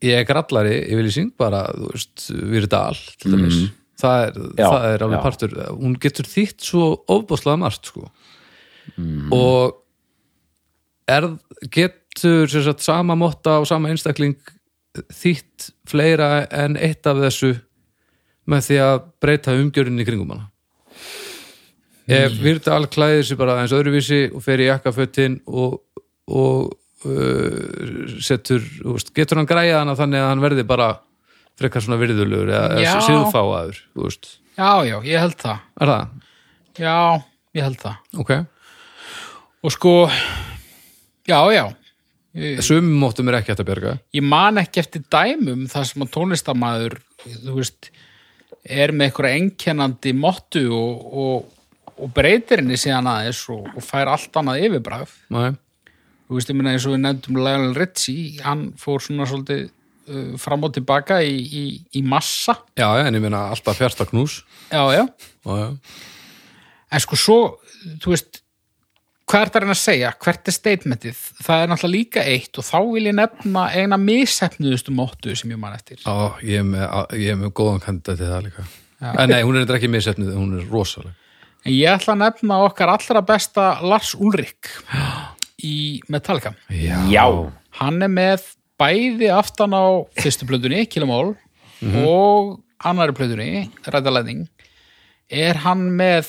S2: ég er grallari yfirlýsing, bara, þú veist, við erum dal, til dæmis. Það er,
S3: Mhm. Já,
S2: það er alveg
S3: já.
S2: partur. Hún getur þýtt svo ofbúslega margt, sko.
S3: Mhm.
S2: og er, getur sem sagt, sama motta og sama einstakling þýtt fleira en eitt af þessu með því að breyta umgjörunni kringum hana ef Virdal klæðir sér bara eins öðruvísi og fer í jakkafötin og, og uh, setur, þú veist, getur hann græja hana þannig að hann verði bara frekar svona virðulegur eða, eða
S4: Já.
S2: síðfáaður, þú veist
S4: Já, já, ég held það.
S2: Er það?
S4: Já, ég held það.
S2: Ok
S4: Og sko, já, já,
S2: Sum móttum er ekki hægt að bjarga
S4: ég man ekki eftir dæmum þar sem að tónlistamæður, þú veist, er með einhverja einkennandi mottu og, og, og breytir henni síðan aðeins og, og fær allt annað yfirbræf.
S2: Nei,
S4: Þú veist, ég minna eins og við nefndum Lionel Richie, hann fór svona svolítið uh, fram og tilbaka í, í, í massa.
S2: já, já, en ég meina alltaf fjarta knús
S4: Já, já.
S2: Já, já,
S4: en sko svo, þú veist hvað er það að reyna að segja, hvert er statementið það er náttúrulega líka eitt og þá vil ég nefna eina missefnuðustu móttu sem ég man eftir
S2: já ég, er með, ég er með góðan kandida til það líka En nei, hún er reyndar ekki misefnið, hún er rosaleg
S4: en ég ætla að nefna okkar allra besta Lars Ulrik í Metallica
S2: Já,
S4: hann er með bæði aftan á fyrstu plötunni, Kilomál og annari plötunni, Ræðalæðing er hann með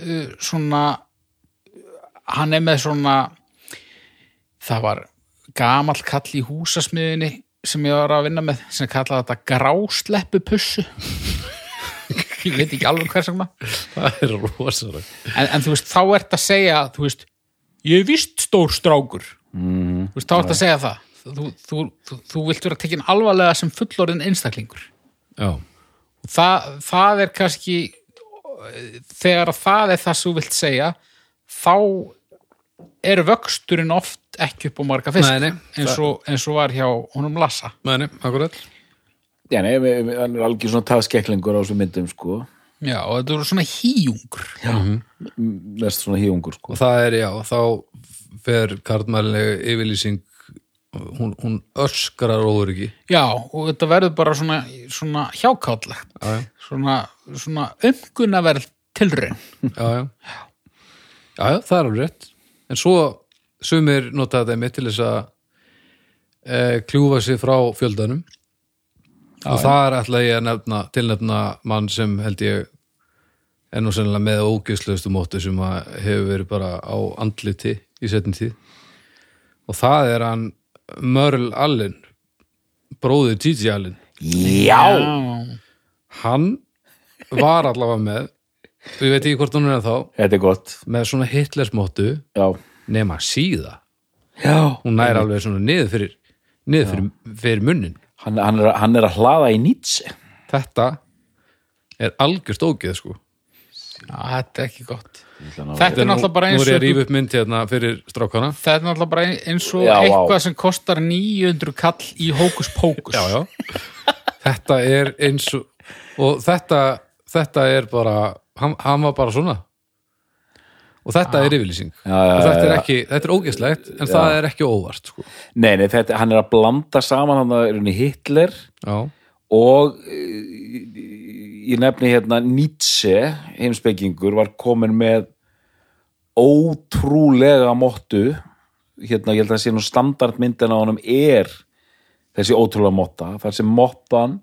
S4: uh, svona hann er með svona það var gamall kall í húsasmiðinni sem ég var að vinna með sem kallaði þetta grásleppupussu ég veit ekki alveg hvers vegna
S2: það er rosaleg
S4: en, en þú veist, þá ert að segja þú veist, ég er vist stór strákur mm, þú veist, þá ert að segja það þú, þú, þú, þú vilt vera tekin alvarlega sem fullorðin einstaklingur
S2: Já,
S4: Og það, það er kannski þegar að það er það sem þú vilt segja þá er vöxturinn oft ekki upp á marga fisk
S2: Nei, nei,
S4: eins, og, eins og var hjá honum Lassa
S2: meni, akkurat
S3: Já, nei, við- við- hann er algjör svona taðskeklingur á þessum myndum, sko.
S4: Já, og þetta eru svona hýjungur Já,
S3: Mest svona híungur, sko.
S2: og það er, já, þá fer karlmælinlega yfirlýsing hún, hún öskrar óöryggi
S4: og þetta verður bara svona, svona hjákállegt
S2: já, já,
S4: svona, svona umgunnaverð tilraun
S2: já, já. já, já, það er alveg rétt en svo sumir nota þetta mitt til þess að e, kljúfa sig frá fjöldanum og þar ætla ég að nefna tilnefna mann sem held ég er nú sennilega með ógjöfslegustu móti sem að hefur verið bara á andliti í setjum tíð og það er hann Mörl Allen bróðið Gigi Allen
S3: Já!
S2: hann var allavega með og ég veit ekki hvort hún er þá
S3: Þetta er gott.
S2: með svona Hitlersmóttu
S3: Já.
S2: nema síða
S3: Já.
S2: hún nær alveg svona niður fyrir niður fyrir, fyrir munnin
S3: Hann, hann, er, hann er að hlaða í Nietzsche.
S2: þetta er algjörst ógeð sko
S4: Já, þetta er ekki gott
S3: að-
S4: Þetta er náttúrulega bara
S2: nú
S4: eins
S2: er ég
S4: og
S2: að
S4: þú-
S3: um-
S2: rífa upp mynd hérna fyrir strákana
S4: Þetta er náttúrulega bara eins og
S3: Já, vá.
S4: eitthvað sem kostar 900 kall í hókus pókus
S2: já, já. þetta er eins og og þetta, þetta er bara hann, hann var bara svona og þetta er yfirlýsing
S3: Já, já,
S2: og þetta
S3: já,
S2: er,
S3: já.
S2: ekki, þetta er ógeðslegt en það er ekki óvart sko.
S3: Nei, nei, þetta, hann er að blanda saman hann að runni Hitler
S2: já,
S3: og eh, ég nefni hérna Nietzsche, heimspekingur, var komin með ótrúlega mottu hérna, ég held að sé nú standardmyndin á honum er þessi ótrúlega motta, þar sem mottan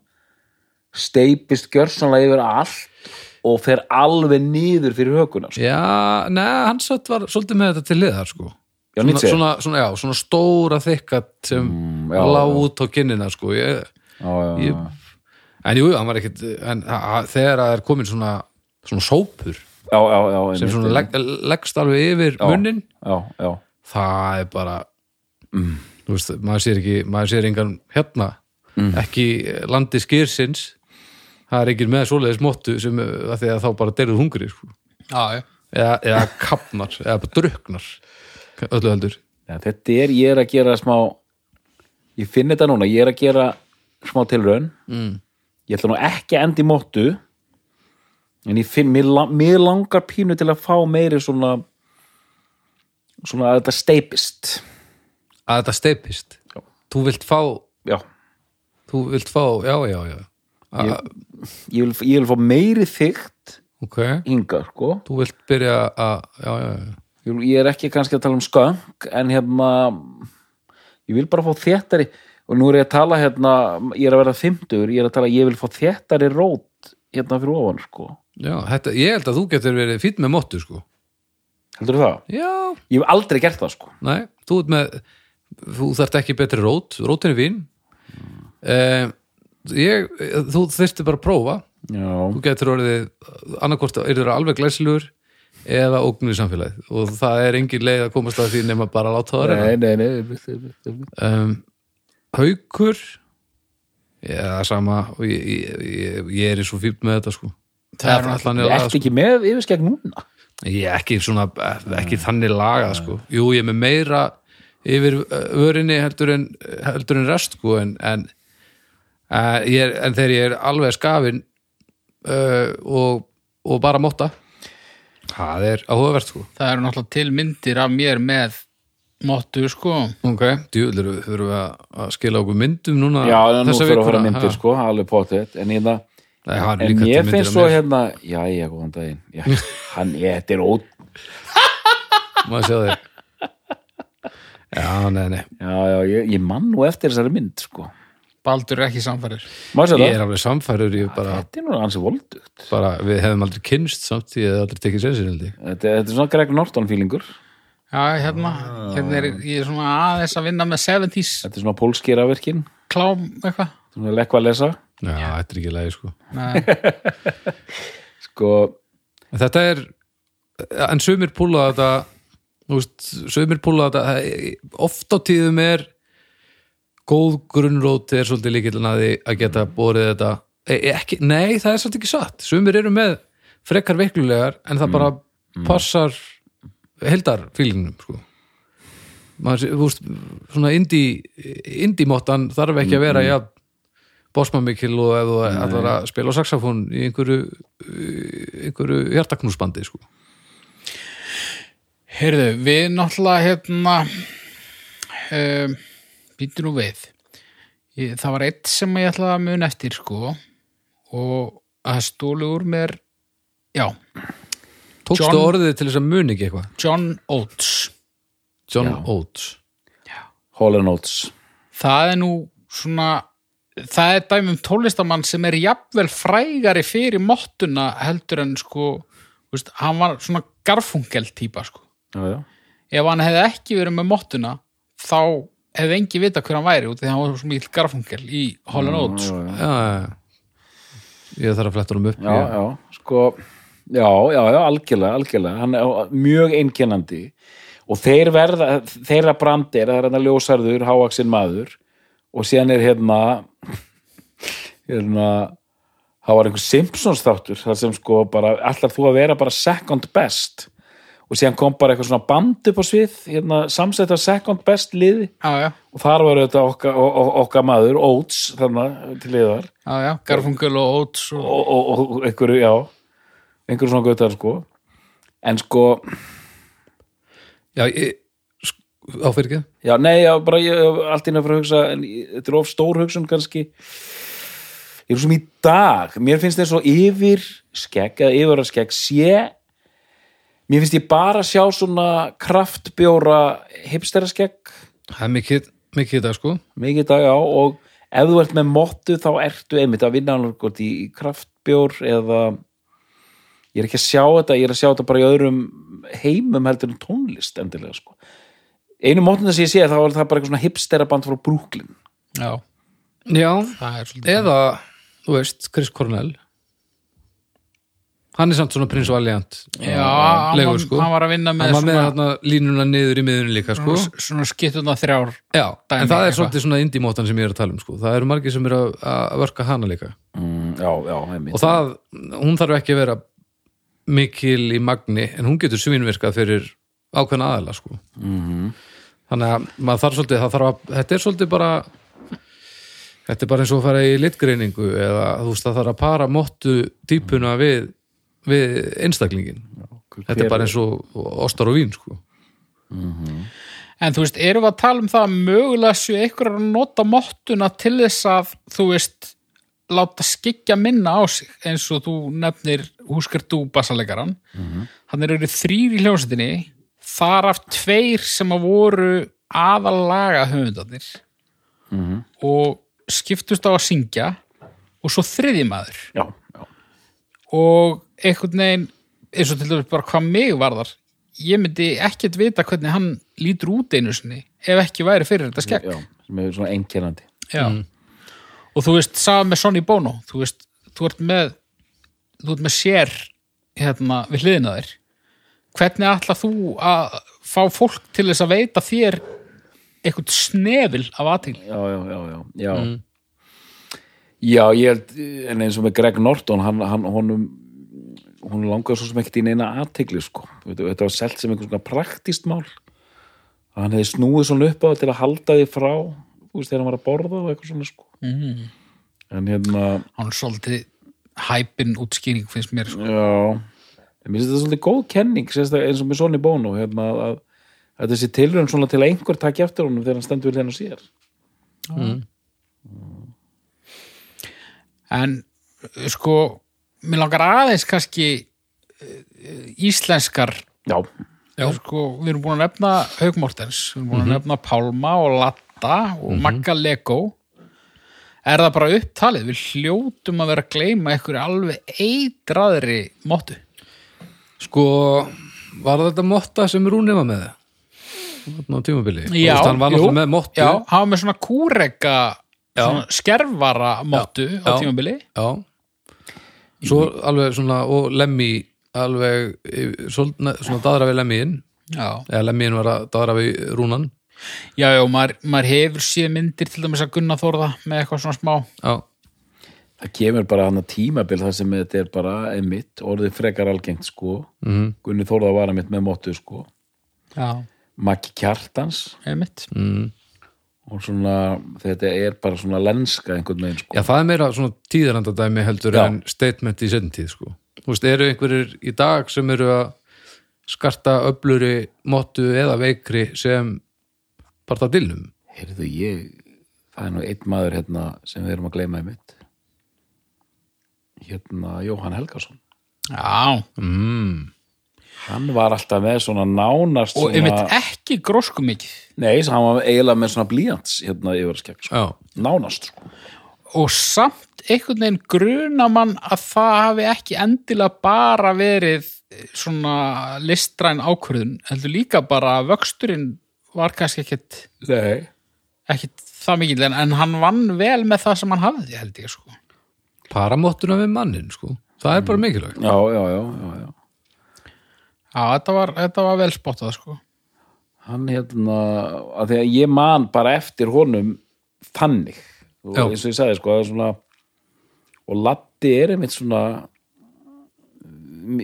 S3: steipist gjörsanlega yfir allt og fer alveg niður fyrir hökuna sko.
S2: já neða, hann satt var svolítið með þetta til liðar sko.
S3: Já,
S2: svona,
S3: Nietzsche.
S2: svona, svona, já, svona stóra þykkat sem
S3: Mm, já,
S2: lá
S3: já.
S2: út á kinnina sko. ég,
S3: Já, já, já.
S2: ég, en jú, hann var ekkit en, a, a, þegar það er komin svona, svona sópur
S3: já, já, já,
S2: sem
S3: einmitt,
S2: svona
S3: einmitt.
S2: legg, leggst alveg yfir
S3: Já.
S2: munnin
S3: já, já,
S2: það er bara
S3: Mm.
S2: þú veist, maður sér ekki maður sér engan hérna
S3: Mm.
S2: ekki landi skýrsins það er ekki með svoleiðis móttu sem að því að þá bara deyrið hungri sko.
S4: já, já.
S2: eða, eða kapnar, eða bara druknar öllu heldur
S3: Já, þetta er, ég er að gera smá ég finn þetta núna, ég er að gera smá tilraun mm. ég ætla nú ekki að enda í móttu en ég finn, mér, la- mér langar pínu til að fá meiri svona svona að þetta steipist
S2: að þetta steipist þú vilt fá,
S3: já,
S2: þú vilt fá, já, já, já
S3: ég vil, ég vil fá meiri þygt
S2: ok,
S3: hinga, sko
S2: þú vilt byrja að, já, já, já
S3: ég, vil- ég er ekki kannski að tala um skönk en hérna ég vil bara fá þéttari og nú er ég að tala hérna, ég er að verða fimmtugur ég er að tala, ég vil fá þéttari rót hérna fyrir ofan, sko
S2: Já, þetta, ég held að þú getur verið fýtt með móttu sko.
S3: heldur það?
S2: Já,
S3: Ég hef aldrei gert það sko
S2: nei, þú ert með þú þarft ekki betri rót, rótin er vín mm. ég, þú þurfti bara að prófa
S3: já,
S2: þú getur orðið, annarkvort er það alveg glæsilegur eða ógnu í samfélagið og það er engin leið að komast að því nema bara að láta það reyna
S3: nei, nei, nei einmitt, einmitt, einmitt.
S2: um, Haukur já, sama og ég, ég, ég, ég er í svo fínt með þetta sko
S4: Það er
S2: allan sko.
S3: Ég ert ekki með yfirskegg núna
S2: Ég er ekki svona, eh, ekki
S3: Mm.
S2: þannig lagað sko. Jú, ég er með meira yfir eh, vörinni heldur en, heldur en rest sko, en, en, uh, ég er, en þegar ég er alveg skafin uh, og, og bara móta það er áhugavert sko.
S4: Það eru náttúrulega til myndir af mér með mottu, sko.
S2: Ok, djúðlir þurfum við að- að skila okkur myndum núna
S3: já, en nú
S2: þessa
S3: fyrir að fara
S2: vikuna,
S3: myndir
S2: ha?
S3: sko, alveg potið en, hérna,
S2: Nei, það eru
S3: en
S2: líka til
S3: ég
S2: myndir af
S3: finnst svo
S2: mér.
S3: hérna já, já, góðan daginn já, hann, ég, þetta er ótt
S2: Má sjá þér Já, nei, nei
S3: já, já, ég, ég man nú eftir þessari mynd sko.
S4: Baldur er ekki samfærir.
S3: má sér
S2: Ég er
S3: það,
S2: alveg samfærur, ég bara,
S3: þetta er nú ansi voldugt
S2: bara við hefum aldrei kynst samt, ég hef aldrei tekið sér sér
S3: þetta, þetta er svona Greg Norton fílingur
S4: Já, hérna,
S2: Ah.
S4: hérna er ég er svona aðeins að vinna með 70s
S3: þetta er svona pólskýraverkin
S4: klám eitthvað.
S3: svona lekku að lesa
S2: Já, þetta er ekki lægi sko
S4: Nei,
S3: sko,
S2: En Þetta er, en sumir púla þetta þú veist, sumir púla þetta það- oft á tíðum er góð grunnrót er svolítið líkillin að því að geta borið þetta e, e- ekki, nei, það er svolítið ekki satt sumir eru með frekar veiklulegar en það bara passar heldar fílingnum sko maður, þú veist, svona indie indie-mottan þarf ekki að vera ja, bósmamikil og ef þú ætlar að spila á saxofón í einhverju einhverju hjartaknúsbandi sko.
S4: heyrðu, við náttúrulega hérna um, býtum nú við. Ég, það var eitt sem ég ætlaði að muna eftir, sko, og að stólu úr mér, já,
S2: Tókstu
S4: John-
S2: orðið til þess að muni ekki eitthvað
S4: John Oates.
S2: John Oates
S3: Hall Oates
S4: það er nú svona það er dæmum tólistamann sem er jafnvel frægari fyrir mottuna heldur en sko þú veist, hann var svona garfungel típa sko.
S3: já, já.
S4: ef hann hefði ekki verið með mottuna þá hefði engi vita hver hann væri út af því að hann var svo mikil garfungel í Holland Oates sko.
S2: já, já, já. ég þarf að fletta honum upp
S3: já,
S2: Ég-
S3: já, sko já, já, já, algjörlega, algjörlega hann er mjög einkennandi og þeir verða, þeirra brandir það er hann að ljósarður, hávaxin maður og síðan er hérna hérna það var einhver Simpsons þáttur þar sem sko bara, allar þú að vera bara second best og síðan kom bara eitthvað svona band upp á svið hérna, samsetta second best liði
S4: já, já,
S3: og þar var þetta okkar, o- o- okkar maður, Oates þannig til liðar
S4: já, já, garfungel og Oates og...
S3: og, og, og- og einhverju, já einhverju svona gautar sko en sko,
S2: já ég, sk- á fyrir ekki
S3: já nei já, bara ég hef allt inn að fara að hugsa en ég- þetta er of stór hugsun kannski ég er sem í dag mér finnst þess að yfir skegg eða yfir að skegg sé mér finnst ég bara sjá svona kraftbjóra hipstera skegg
S2: það er mikið, mikið þetta sko
S3: mikið í dag á og ef þú ert með mottu þá ertu einmitt að vinna hann hvort í í kraftbjór eða ég er ekki að sjá þetta ég er að sjá þetta bara í öðrum heimum heldur en tónlist endilega sko. einu mottuna sem ég sé þá er það bara eitthvað svona hipsteraband frá Brooklyn
S4: já,
S2: já,
S4: það er svolítið
S2: eða þú veist, Chris Cornell hann er samt svona prins Valiant
S4: já, hann,
S2: legur,
S4: var,
S2: sko.
S4: hann var að vinna
S2: hann
S4: með
S2: var með
S4: svona,
S2: þarna línuna niður í miðunum líka sko
S4: svona skittuna þrjár
S2: já,
S4: dæmi
S2: en það er
S4: eitthvað.
S2: svolítið svona indie-mótan sem ég er að tala um sko það eru margir sem eru að, að verka hana líka
S3: mm, já, já, einmitt
S2: og það, hún þarf ekki að vera mikil í magni en hún getur svinvirkað fyrir ákveðna aðila sko. -hmm.
S4: Mhm.
S2: þannig að maður þarf svolítið það þarf að, þetta er svolítið bara þetta er bara eins og að fara í litgreiningu eða þú veist það þarf að para mottu
S4: Mm.
S2: típuna við, við einstaklingin þetta er bara eins og ostar og vín sko.
S4: En þú veist, erum við að tala um það að mögulega séu ykkur að nota mottuna til þess að, þú veist, láta skikja minna á sig eins og þú nefnir Húsker Dú bassalegaran. Hann eru þrýr í hljómsveitinni, þar af tveir sem að voru aðalaga höfundarnir og skiptust á að syngja og svo þriði maður
S3: já, já,
S4: og einhvern veginn eins og til dæmis bara hvað mig varðar ég myndi ekkert vita hvernig hann lítur út einu sinni ef ekki væri fyrir þetta skekk
S3: já, sem er svona einkennandi
S4: Já. og þú veist, sama með Sonny Bono þú veist, þú ert með þú ert með sér hérna, við hliðina þér hvernig ætla þú að fá fólk til þess að veita þér eitthvað snefil af aðtegli
S3: já, já, já, já, já. já ég held, en eins og með Greg Norton hann, hann, honum hún langaði svo sem ekkert í neina aðtegli sko. Þú veit, þetta var selt sem einhvern svona praktíst mál hann hefði snúið svona upp á það til að halda því frá þú veist, þegar hann var að borða og eitthvað svona sko. mm. en hérna
S4: hann er svolítið hæpin útskýring finnst mér sko.
S3: Já, en mér finnst þetta svolítið góð kenning sérstaklega eins og með Sonny Bono hérna, að, að þessi tilraun svona til að einhver takja eftir honum þegar hann stendur við hérna sér
S4: en uh, sko, mér langar aðeins kannski uh, íslenskar
S3: Já,
S4: Já. Sko, við erum búin að nefna Haug Mortens, við erum búin
S2: Mhm.
S4: að nefna Pálma og Latta og Magga Lego er það bara upptalið við hljótum að vera að gleyma einhverju alveg eitraðri móttu
S2: Sko, var þetta Motta sem Rúni var með? Þannig á tímabili. Þú veist, hann var
S4: jú,
S2: náttúrulega með Mottu.
S4: já, hann var með svona kúreka svona skerfara móttu á
S2: já.
S4: tímabili
S2: Já. Svo alveg svona, og Lemmi, alveg, eh, svona, svona daðra við Lemmiinn,
S4: já,
S2: eða Lemmiinn var að daðra við Rúnan.
S4: já, já maður, maður hefur séð myndir til dæmis að Gunna Þórða með eitthvað svona smá
S2: Já,
S3: það kemur bara hann að tímabil þar sem þetta er bara einmitt, orðið frekar algengt sko mm. Gunni Þórða var einmitt með móttu sko
S4: já,
S3: Maggi Kjartans
S4: einmitt
S3: og svona, þetta er bara svona lenska einhvern veginn sko
S2: já það er meira svona tíðarandadæmi heldur
S3: Já.
S2: en statement í seinni tíð, sko. Þú veist, eru einhverjir í dag sem eru að skarta öfluri Mottu eða veikri sem parta dillum?
S3: Heyrðu ég, það er nú einn maður hérna sem við erum að gleyma einmitt hérna Jóhann Helgason
S4: já,
S3: Hann var alltaf með svona nánast
S4: og
S3: svona...
S4: einmitt ekki grósku mikið
S3: Nei, svo hann var eiginlega með svona blíjans hérna yfir skegg, sko.
S2: Já.
S3: nánast sko.
S4: og samt einhvern veginn gruna mann að það hafi ekki endilega bara verið eh, svona listræn ákvörðun heldur líka bara að vöxturinn var kannski ekkit,
S3: Nei.
S4: ekkit það mikið en, en hann vann vel með það sem hann hafði held ég sko
S2: Paramottuna við mannin, sko. Það er bara mikilvægt.
S3: Já, já, já, já, já.
S4: Já, þetta var, þetta var vel spottað sko
S3: Hann hérna, að því að ég man bara eftir honum þannig, og
S2: Já.
S3: eins og ég sagði sko, það er svona og Latti er einmitt svona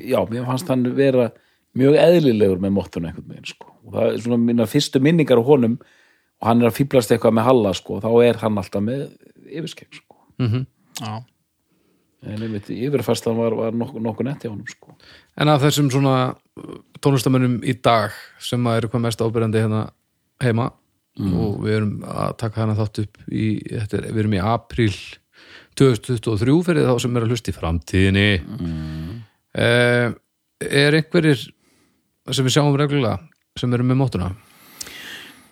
S3: já, mér fannst hann vera mjög eðlilegur með móttuna einhvern veginn sko. og það er svona minna fyrstu minningar á honum og hann er að fýblast eitthvað með Halla sko, og þá er hann alltaf með yfirskegg sko.
S4: Já,
S3: en einmitt yfirfærslan var, var nokkuð nokku netti á honum sko.
S2: En af þessum svona tónlistamönnum í dag sem að eru hvað mest ábyrjandi hérna heima og við erum að taka hana þátt upp í, þetta er, við erum í apríl 2023 fyrir þá sem er að hlusta í framtíðinni mm. Er einhverjir sem við sjáum reglulega sem eru með mótuna?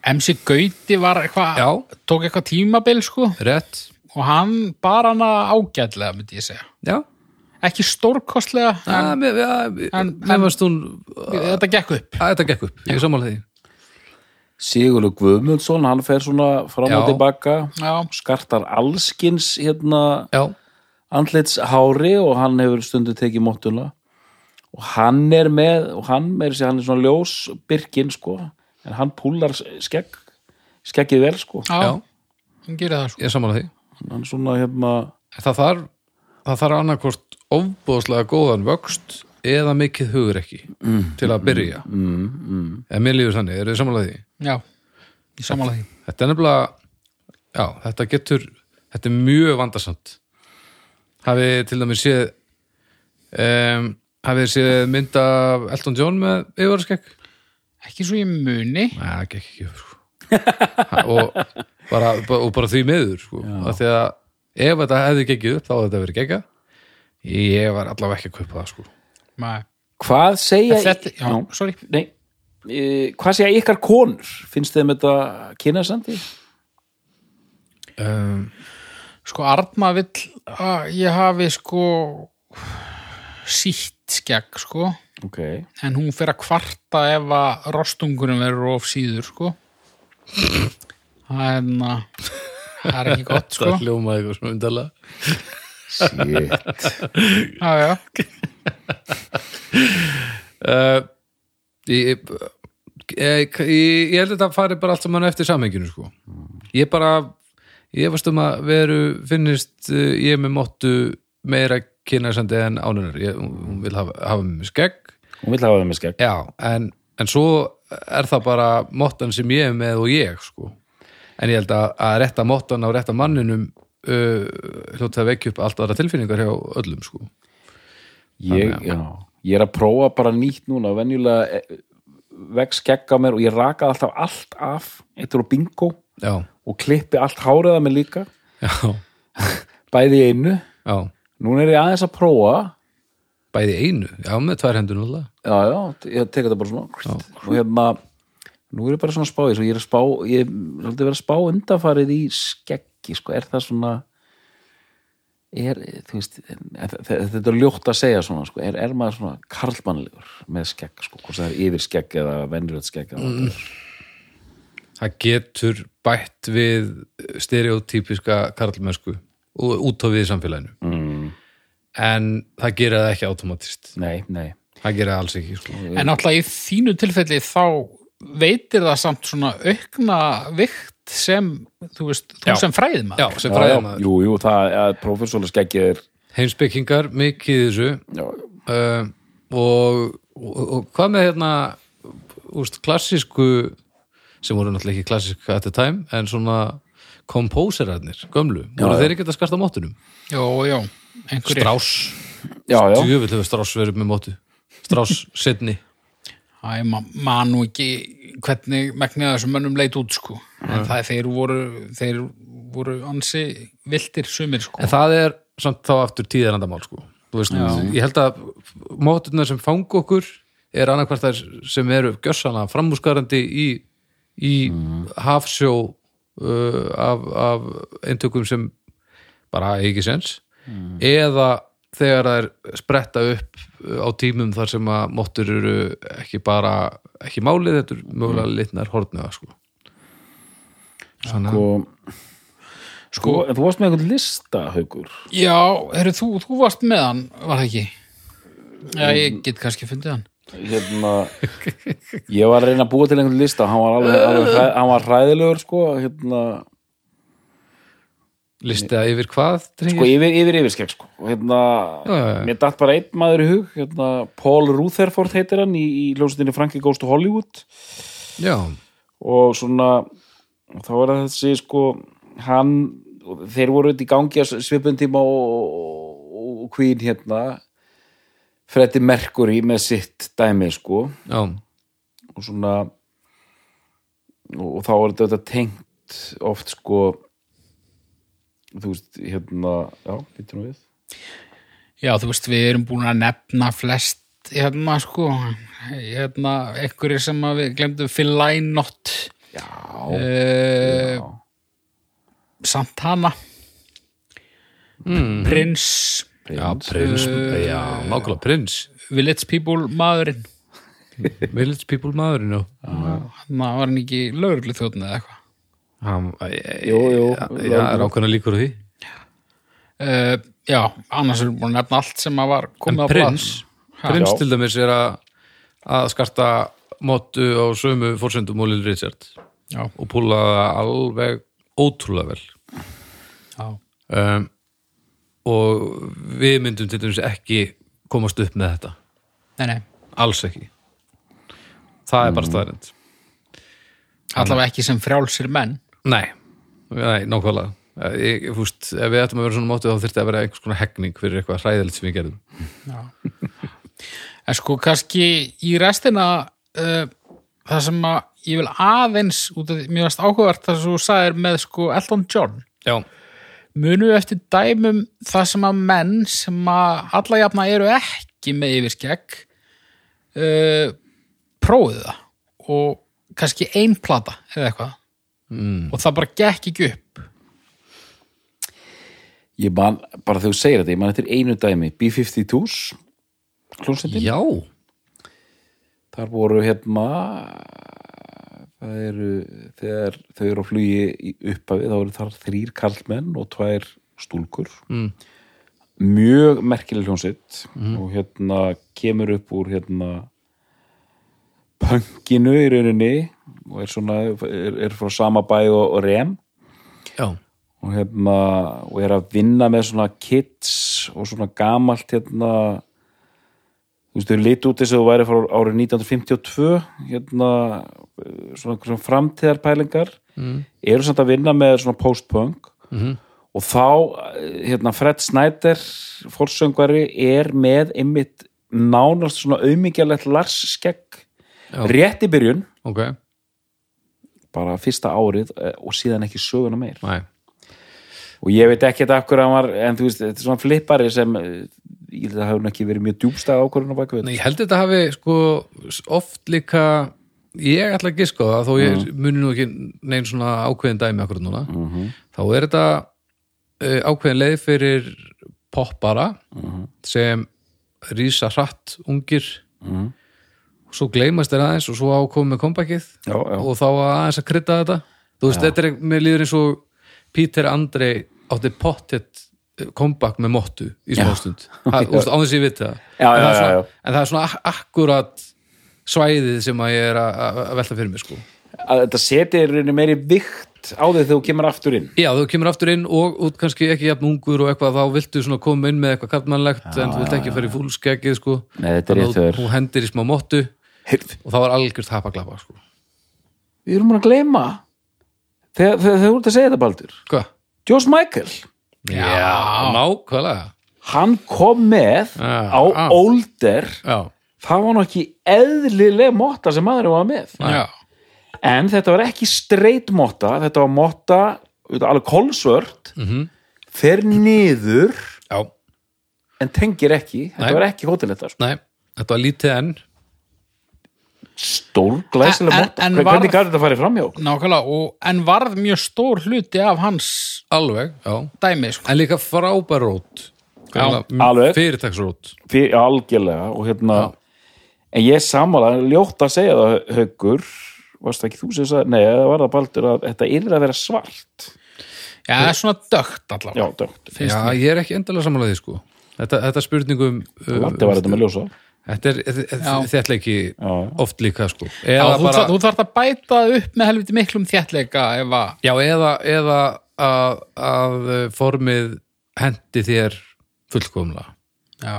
S4: MC Gauti var eitthvað
S2: Já.
S4: tók eitthvað tímabil sko
S2: Rétt?
S4: og hann bara hana ágætlega myndi ég segja,
S2: Já?
S4: ekki stórkostlega
S2: En,
S4: en,
S2: en, mér, en, en,
S4: en-
S2: mér varst hún að
S4: þetta gekk upp
S2: þetta gekk upp, ég er sammála því
S3: Sigurlu Guðmundsson, hann fer svona fram
S2: Já.
S3: og tilbaka
S4: Já,
S3: skartar allskins hérna
S2: Já,
S3: andlitshári og hann hefur stundu tekið móttuna og hann er með og hann er, hann er svona ljós birkin sko, en hann púlar skegg, skeggið vel sko
S4: já,
S2: Já.
S4: hann gerir það sko
S2: ég er sammála því
S3: hann svona hérna
S2: það þarf, það þarf annarkvort ofbóðslega góðan vöxt eða mikið hugur ekki til að byrja mm, mm. en mér lífur þannig, eru þið samanlega því
S4: Já, ég samanlega því.
S2: þetta er nefnilega já, þetta getur, þetta er mjög vandarsamt hafið til dæmis séð um, hafið þið séð mynd af Elton John með yfirskegg
S4: Ekki svo ég muni.
S2: Nei, það gekk ekki upp sko. Ha, og, bara, og bara því meður sko. Af því að ef þetta hefði gekkið upp þá hefði þetta verið gekka ég var allavega ekki að kaupa það sko.
S4: Nei.
S3: hvað segja
S4: Þetta, já,
S3: Já,
S4: sorry.
S3: nei, eh, hvað segja ykkar konur finnst þeim þetta kynasandi?
S2: um,
S4: Sko, Arna vill að ég hafi sko sítt skegg, sko.
S3: ok,
S4: En hún fer að kvarta ef að rostungunum verður of síður, sko. Það er hérna, það er ekki gott sko
S2: það hljómaði eitthvað svona undarlega
S3: Shit.
S4: já, já.
S2: uh, ég, ég, ég, ég held að það fari bara allt saman eftir samhenginu sko. ég bara ég varst um að veru finnist uh, ég með móttu meira kynæsandi en ánunar ég, hún hún vil hafa, hafa mig með skegg
S3: hún vil hafa það með skegg
S2: já, en, en svo er það bara móttan sem ég er með og ég sko. en ég held að, að rétta móttan á rétta manninum uh, hljóta að vekja upp allt aðra tilfinningar hjá öllum sko.
S3: ég, já, ég er að prófa bara nýtt núna venjulega eh, vex skegg á mér og ég raka alltaf allt af eittur og bingo
S2: já,
S3: og klippi allt háriða mér líka
S2: já,
S3: bæði í einu
S2: já
S3: núna er ég aðeins að prófa
S2: bæði í einu, já með tvær hendur náttúrulega
S3: já, já, ég tek þetta bara svona og hérna nú er ég bara svona að spá í þessu og ég er að spá, ég er svolítið verið að spá undafarið í skeggi sko, er það svona er, þú veist þe- þe- þetta er ljótt að segja svona sko, er, er maður svona karlmannlegur með skegg sko, hvort það er yfir skegg eða venjulegt skegg eða mm.
S2: það getur bætt við stereotypiska karlmennsku og útofið í samfélaginu mm. en það gerir það ekki automatist
S3: nei, nei,
S2: það gerir það alls ekki sko.
S4: en náttúrulega í þínu tilfelli þá veitir það samt svona aukna vikt sem þú veist, þú
S2: Já.
S4: sem fræðið maður
S2: já, sem
S3: já, já,
S2: fræðum
S3: jú, jú, það að profesjóla skeggið er
S2: heimspekingar, mikið í þessu
S3: já,
S2: uh, og, og, og hvað með hérna úst, klassísku sem voru náttúrulega ekki klassísku at the time en svona kompóserarnir, gömlu, voru
S3: já.
S2: þeir ekki að skarta móttunum?
S4: já, já, einhverjir
S2: Strás
S3: já, já,
S2: Djöfull hefur Strauss verið með mótu Strauss setni
S4: Æ, ma man nú ekki hvernig megnið af þessum mönnum leit út sko en það er þeir voru þeir voru ansi viltir sumir sko
S2: En það er samt þá aftur tíðarandamál sko. Þú veist, Ég held að mótuna sem fanga okkur er annarkvært þær sem eru gjössana framúskarandi í, í
S3: Mm.
S2: hafsjó uh, af, af eintökum sem bara eiga ekki sens
S3: Mm.
S2: eða þegar þær spretta upp uh, á tímum þar sem að móttur eru ekki bara ekki málið, þetta eru mögulega litnar hortnöða sko. Svona,
S3: Mm. sko sko, en þú varst með einhvern lista, Haukur
S4: Já, heyrðu, þú, þú varst með hann var það ekki? Já, ég get kannski fundið hann
S3: hérna, ég var að reyna að búa til einhvern lista, hann var alveg, alveg hræ, hann var hræðilegur sko, hérna,
S2: listið að yfir hvað drengir?
S3: sko yfir, yfir yfirskegg sko, og hérna,
S2: Já, já, já.
S3: mér datt bara einn maður í hug, hérna, Paul Rutherford heitir hann í, í ljósutinni Frankie Goes to Hollywood
S2: Já,
S3: og svona, þá var það þessi sko, hann, þeir voru út í gangi að svipum tíma og, og, og Queen hérna, Freddie Mercury með sitt dæmi sko,
S2: já,
S3: og svona og, og þá er þetta auðvitað tengt oft sko þú veist, hérna já, býttu nú við
S4: Já, þú veist, við erum búin að nefna flest hérna sko hérna, einhverjir sem að við glemdum Fillinot
S3: já,
S4: uh, Santana mm. Prins
S2: já, prins, Eh, já, nákvæmlega prins
S4: Village People maðurinn
S2: Village People maðurinn já.
S4: Ná, var hann ekki lögurlu þjóðn eða eitthvað
S2: Hann, já,
S3: jú, jú,
S2: já, er ákveðna líkur á því
S4: uh, Já, annars erum við búin að nefna allt sem að var
S2: En
S4: komið á
S2: prins,
S4: Ha,
S2: prins
S3: já.
S2: til dæmis er að að skarta mótu á sömu fórsendum og Lil Richard
S4: Já.
S2: og púla það alveg ótrúlega vel
S4: blað.
S2: um, og við myndum til dæmis ekki komast upp með þetta
S4: Já, nei, nei,
S2: alls ekki það
S3: Mhm.
S2: er bara staðarind
S4: allavega ekki sem frjálsir menn
S2: Nei, nei, nákvæmlega Eh, ég, ég, fúst, ef við ættum að vera svona mótið þá þyrfti að vera einhvers konar hegning fyrir eitthvað hræðilegt sem við gerðum
S4: En sko, kannski í restina uh, það sem að ég vil aðeins út af því, mjög veist áhugavert það sem þú sagðir með sko Elton John
S2: Já,
S4: munum við eftir dæmum það sem að menn sem að alla jafna eru ekki með yfirskegg uh, prófið það og kannski ein plata eða eitthvað mm. og það bara gekk ekki upp
S3: ég man, bara þegar þú segir þetta, ég man eftir einu dæmi B-52s hljónstendin,
S2: já,
S3: þar voru hérna það eru þegar þau eru á flugi í upphafi þá eru þar þrýr karlmenn og tvær stúlkur
S2: Mm. Mhm.
S3: mjög merkileg hljónsitt og hérna kemur upp úr hérna pönginu í rauninni og er svona, er, er frá sama bæ og, og rem
S2: já,
S3: og, hérna, og er að vinna með svona kids og svona gamalt hérna þú veist, þau liti út þess að þú væri frá árið 1952 hérna eh, svona, svona framtíðarpælingar mm. eru samt að vinna með svona post-punk mm. og þá eh, hérna Fred Snyder fórsöngvari er með einmitt nánast svona auðmingjalegt larskegg rétt í byrjun
S2: ok,
S3: bara fyrsta árið eh, og síðan ekki söguna meir
S2: næ
S3: og ég veit ekki þetta af hverju hann var en þú veist, þetta er svona flippari sem eh, ég held að það hefur nú ekki verið mjög djúbstæð ákvörðun á bakvið
S2: Nei, ég held þetta hafi sko oft líka ég ætla að giska á það þó ég
S3: Mhm.
S2: muni nú ekki neinn svona ákveðin dæmi akkur núna þá er þetta uh, ákveðin leið fyrir poppara
S3: Mhm.
S2: sem rísa hratt ungir
S3: Mhm.
S2: og svo gleymast þeir aðeins og svo ákomið með kompakið
S3: Já, já.
S2: og þá var aðeins að krydda þetta þú veist, þetta er með líður eins og Peter Andrei átti pottet kompakt með mottu í smástund Ha- þú veist, án þess að ég viti það
S3: Já,
S2: en, það
S3: já,
S2: er
S3: já,
S2: svona,
S3: já.
S2: en það er svona ak- akkurat svæðið sem að ég er að- að að velta fyrir mér sko.
S3: að þetta setir rauninni meiri vikt á þig þegar þú kemur aftur inn
S2: já, þú kemur aftur inn og út kannski ekki jafn ungur og eitthvað, þá viltu svona koma inn með eitthvað kallmannlegt, en þú vilt ekki fara í fúlskeggið sko.
S3: Ah. Nei, þetta
S2: Þannig að
S3: er rétt hjá
S2: þú-
S3: þér.
S2: þú hendir í smá mottu
S3: Heyrð,
S2: og það var algjörst hapaglapa sko.
S3: við erum búin að gleyma þegar þegar- þegar þú ert að segja þetta Baldur
S2: hvað?
S3: Josh Michael,
S2: já, já nákvæmlega
S3: hann kom með
S2: Já,
S3: á
S2: já.
S3: Older
S2: já,
S3: það var nú ekki eðlileg motta sem maður var með
S2: já,
S3: en þetta var ekki streit motta þetta var motta auðvitað, alveg kolsvört
S2: Mhm.
S3: fer niður
S2: já.
S3: en tengir ekki, þetta
S2: Nei.
S3: var ekki hóteletta sko.
S2: Nei, þetta var lítið enn
S3: stór glæsileg
S4: En- en-
S3: motta,
S4: en
S3: hvernig
S4: var-
S3: var... gæti þetta farið framjá
S4: nákvæmlega, og, en varð mjög stór hluti af hans
S2: alveg, já,
S4: dæmi sko.
S2: en líka frábær rót
S4: Já,
S3: alveg.
S2: fyrirtaksrót
S3: fyrir, já, algjörlega og hérna en ég er sammála, ljótt að segja það haukur, varst það ekki þú sem sagði nei, það var það baldur að þetta yrði að vera svart
S4: Já, það er svona dögt
S3: já,
S4: allavega
S3: dögt,
S4: Finnst
S2: Já, ég er ekki endalega samanlega því sko Þetta, þetta spurningum uh,
S3: landi sko, var þetta með ljósa
S2: Þetta er þi-
S4: Já.
S2: þi- þéttleiki
S3: já.
S2: oft líka sko
S4: Já,
S2: Eða
S4: þú, bara... þú þarf að bæta upp með helviti miklum þjætleika ef að
S2: já, eða, eða að, að formið hendi þér fullkomlega
S4: Já.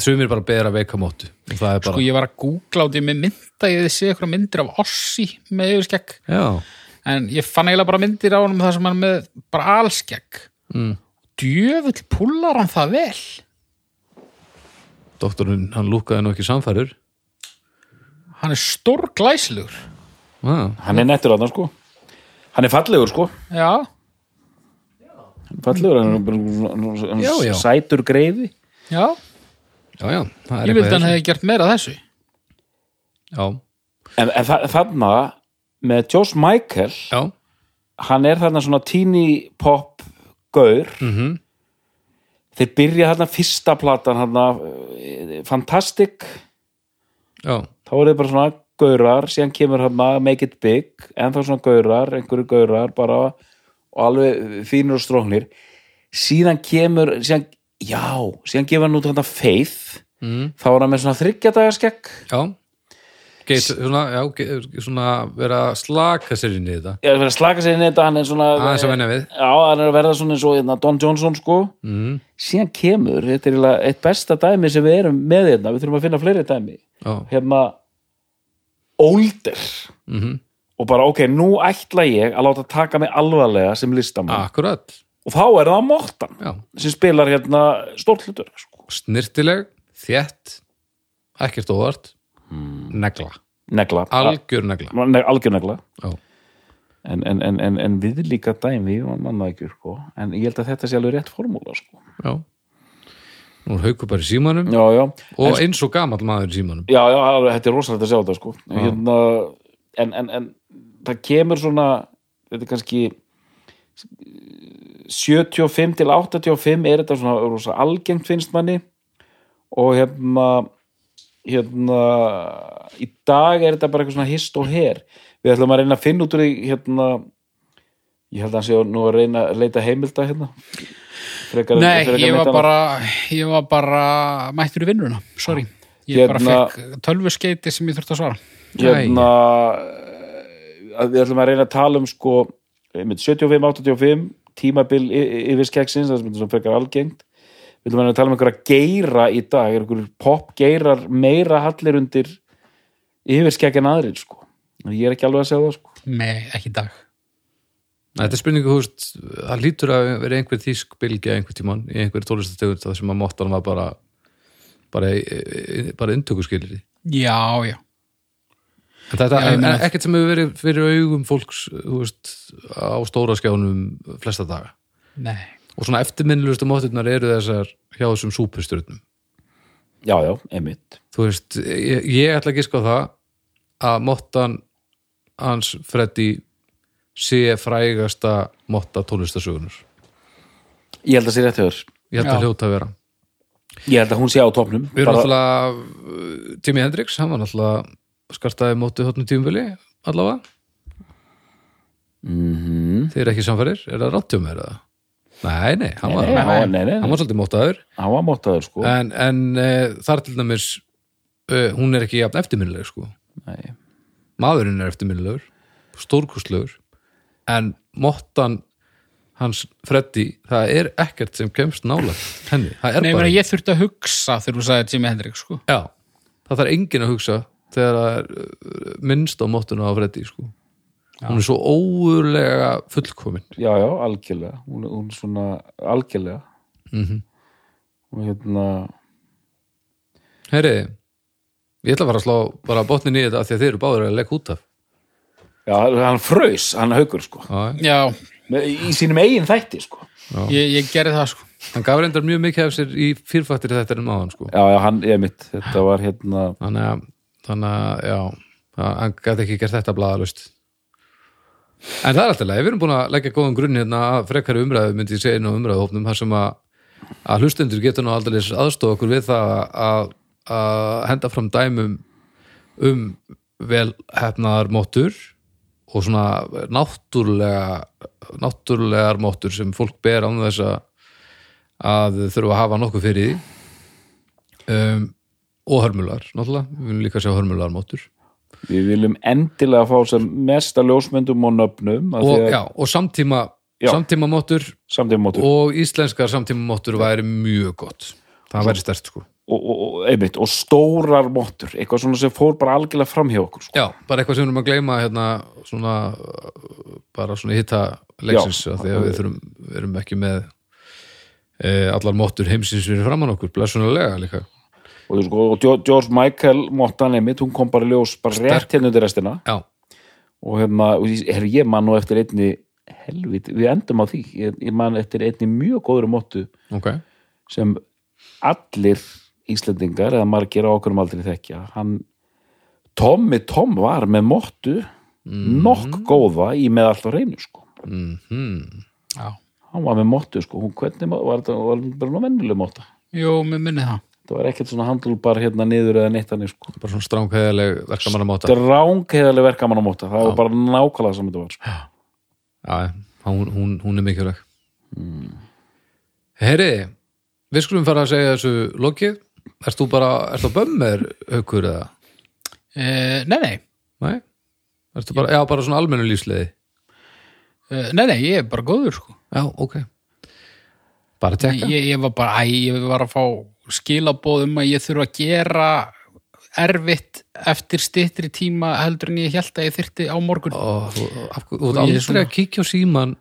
S2: Sumir bara bera veika móttu og það er bara
S4: Sko ég var að googla á því með mynda, ég sé eitthvað myndir af ossi með yfirskegg
S2: Já,
S4: en ég fann eiginlega bara myndir á hann það sem hann er með bara alskegg
S2: Mm.
S4: djöfull púlar hann það vel
S2: doktorinn, hann lúkaði nú ekki samfærur
S4: hann er stór glæslugur
S2: Já,
S3: hann er nettur að það sko hann er fallegur sko
S4: já,
S3: fallegur, hann er bara svona- hann er svona
S2: Já, já.
S3: sætur greifi
S4: já
S2: já, já það er
S4: ég vildi
S2: eitthvað
S4: hann
S2: í þessu.
S4: hefði gert meira af þessu
S2: Já,
S3: en, en þa þarna með Josh Michael
S2: já,
S3: hann er þarna svona teeny pop gaur
S2: mhm
S3: þeir byrja þarna fyrsta platan þarna, eh, Fantastic
S2: já,
S3: þá er þið bara svona gaurar síðan kemur þarna Make It Big en þá svona gaurar, einhverju gaurar bara og alveg fínur og stróknir síðan kemur síðan, já, síðan gefur hann út þarna Faith
S2: Mm.
S3: þá er hann með svona þryggjadagaskegg
S2: já Geit, svona, já, ge- svona vera að slaka sér inn í þetta
S3: ég er að vera að slaka sér inn í þetta hann er svona
S2: aðeins að venja við
S3: Já, hann er að verða svona eins og hérna, Don Johnson sko
S2: mm,
S3: síðan kemur, þetta er eiginlega eitt besta dæmi sem við erum með hérna, við þurfum að finna fleiri dæmi
S2: já,
S3: hérna older
S2: mm
S3: og bara ok, nú ætla ég að láta taka mig alvarlega sem listamann
S2: akkurat
S3: og þá er það Mortan
S2: já.
S3: sem spilar hérna stórt hlutur sko.
S2: snirtileg, þétt ekkert óvart negla,
S3: negla,
S2: algjör negla
S3: Al- ne- algjör negla
S2: já,
S3: en, en, en, en, en við líka dæmi man- man það ekki, sko. en ég held að þetta sé alveg rétt formúla sko.
S2: já nú er haukur bara í símanum
S3: já, já,
S2: og eins og gamall maður í símanum
S3: já, já, alveg, þetta er rosalegt að sjá þetta sko. hérna, en, en, en það kemur svona þetta er kannski eh, 75 til 85 er þetta svona rosa algengt finnst manni og hérna hérna í dag er þetta bara eitthvað svona hist og her við ætlum að reyna að finna út úr því hérna ég held að hann sé nú að reyna að leita heimilda hérna frekar, en-
S4: Nei,
S3: frekar
S4: ég
S3: en
S4: var
S3: neitt
S4: bara ég var bara mættur í vinnuna sorry, ég
S3: Hérna-
S4: bara fekk tölvuskeiti sem ég þurfti að svara
S3: annað. hérna eh, að við ætlum að reyna að tala um sko 75-85 tímabil y- y- yfir skekksins það sem þetta svona frekar algengt við ætlum að reyna að tala um einhverja geira í dag er einhverjur popgeirar meira hallir undir yfir skekk en aðrir sko ég er ekki alveg að segja það sko
S4: Nei, ekki í dag
S2: Nei, þetta er spurningu, þú veist, það lítur að vera einhver þýsk bylgja einhver tíman í einhver tólistategur það sem að móttan var bara bara, bara inntökuskilir en
S4: Já, já
S2: þetta
S4: Já, ég
S2: er
S4: meina-
S2: ekkert sem hefur verið fyrir augum fólks, þú veist, á stóra skjánum flesta daga
S4: Nei,
S2: og svona eftirminnilegustu mótturnar eru þessar hjá þessum súpustjörnum
S3: já, já, einmitt
S2: þú veist, ég, ég ætla ekki sko það að mottan hans Freddy sé frægasta motta tónlistasögunar
S3: Ég held að sé rétt hjá þér.
S2: ég held að
S4: Já.
S2: hljóta að vera
S3: Ég held að hún sé á topnum.
S2: Við erum náttúrulega uh, Jimi Hendrix, hann var náttúrulega skartaði mótið hóttnum tímumvili allavega mm
S3: Mhm.
S2: -hmm. Þeir eru ekki samfærir, er það ráttjum er það? Nei, nei, hann var,
S3: Nei, nei, hann- nei, nei, nei.
S2: hann var svolítið mótaður
S3: Hann var mótaður, sko.
S2: en, en uh, þar til dæmis uh, hún er ekki jafn eftirminnileg sko.
S3: Nei.
S2: maðurinn er eftirminnilegur stórkustlegur en mottan hans Freddy, það er ekkert sem kemst nála henni, það er
S4: Nei ég,
S2: bara
S4: meina, ég þurfti að hugsa þegar þú sagði Jimi Hendrix sko.
S2: Já, það þarf enginn að hugsa þegar það er uh, minnst á móttuna á Freddy sko. hún er svo óurlega fullkomin
S3: Já, já, algjörlega. Hún, hún er svona algjörlega. Mhm. Og hérna,
S2: Heyri, ég ætla að fara að slá bara botnin í þetta af því að þeir eru báður að leggja út af
S3: já, hann frös, hann haukur, sko.
S2: Já,
S4: Já,
S3: Með- Í sínum eigin þætti, sko.
S4: ég, ég gerði það sko.
S2: hann gaf reyndar mjög mikið af sér í fyrfættir þetta en maðan sko.
S3: Já, já, hann, ég mitt, þetta var hérna,
S2: þannig að, þannig að já, hann- hann gæti ekki gert þetta blaðalust en það er alltaf leið, við erum búin að leggja góðan grunn hérna að frekari umræðu myndi ég segja inn á umræðuhófnum þar sem að, að hlustendur getur nú aldrei aðstofa okkur við það að, að henda fram dæmum um vel hefnaðar móttur og svona náttúrulega náttúrulegar móttur sem fólk ber án þess að að þurfa að hafa nokkuð fyrir því um, og hörmular, náttúrulega, við viljum líka sjá hörmular móttur
S3: við viljum endilega fá sem mesta ljósmyndum og nöfnum. af því
S2: og,
S3: að-
S2: já, og samtíma,
S3: Já.
S2: samtíma móttur
S3: Samt eða mótur. Og,
S2: og íslenskar samtíma móttur væri mjög gott það væri stert sko
S3: og, og, einmitt, og stórar mótur. Eitthvað svona sem fór bara algjörlega fram hjá okkur, sko.
S2: já, bara eitthvað sem við erum að gleyma hérna, svona, uh, bara svona hitta leiksins,
S3: Já.
S2: af því að við þurfum, við erum ekki með e, allar móttur heimsins fyrir framann okkur blessunulega líka
S3: Og, þú sko, og Jo- George Michael móttan einmitt, hún kom bara í ljós bara rétt hérna undir restina.
S2: já,
S3: og hérna, og ég- herru, ég man nú eftir einni helviti, við endum á því ég, ég man eftir einni mjög góður móttu
S2: ok
S3: sem allir Íslendingar eða margir á okkurum aldrei þekkja hann, Tommy Tom var með móttu nokk góða í með allt á reynu sko
S2: mm
S4: Já,
S3: hann var með móttu sko, hún hvernig má- var þetta var bara nú vennileg mótta
S4: jú, mér minni það
S3: það var ekkert svona handlúbar hérna niður eða neitt hann sko
S2: bara svona stránkæðileg verkamanna móta
S3: drángheðaleg verkamann á móta, það var bara nákvæmlega sem þetta var sko.
S2: já, hún, hún, hún er mikilvæg herri við skulum fara að segja þessu lokið Erst þú bara, erst þú bömmir haukur eða?
S4: e, Nei, nei,
S2: Nei? Erst þú bara, já, bara svona almennu lífsleiði?
S4: e, nei, nei, ég er bara góður sko.
S2: Já, ok Bara tekka
S4: ég, ég var bara, æ, ég var að fá skilaboð um að ég þurfa að gera erfitt eftir styttri tíma heldur en ég held að ég þyrti á morgun
S2: Ó, Þú af hverju- þú ert
S4: Og ég er
S2: aldrei
S4: svona-
S2: að kíkja á síman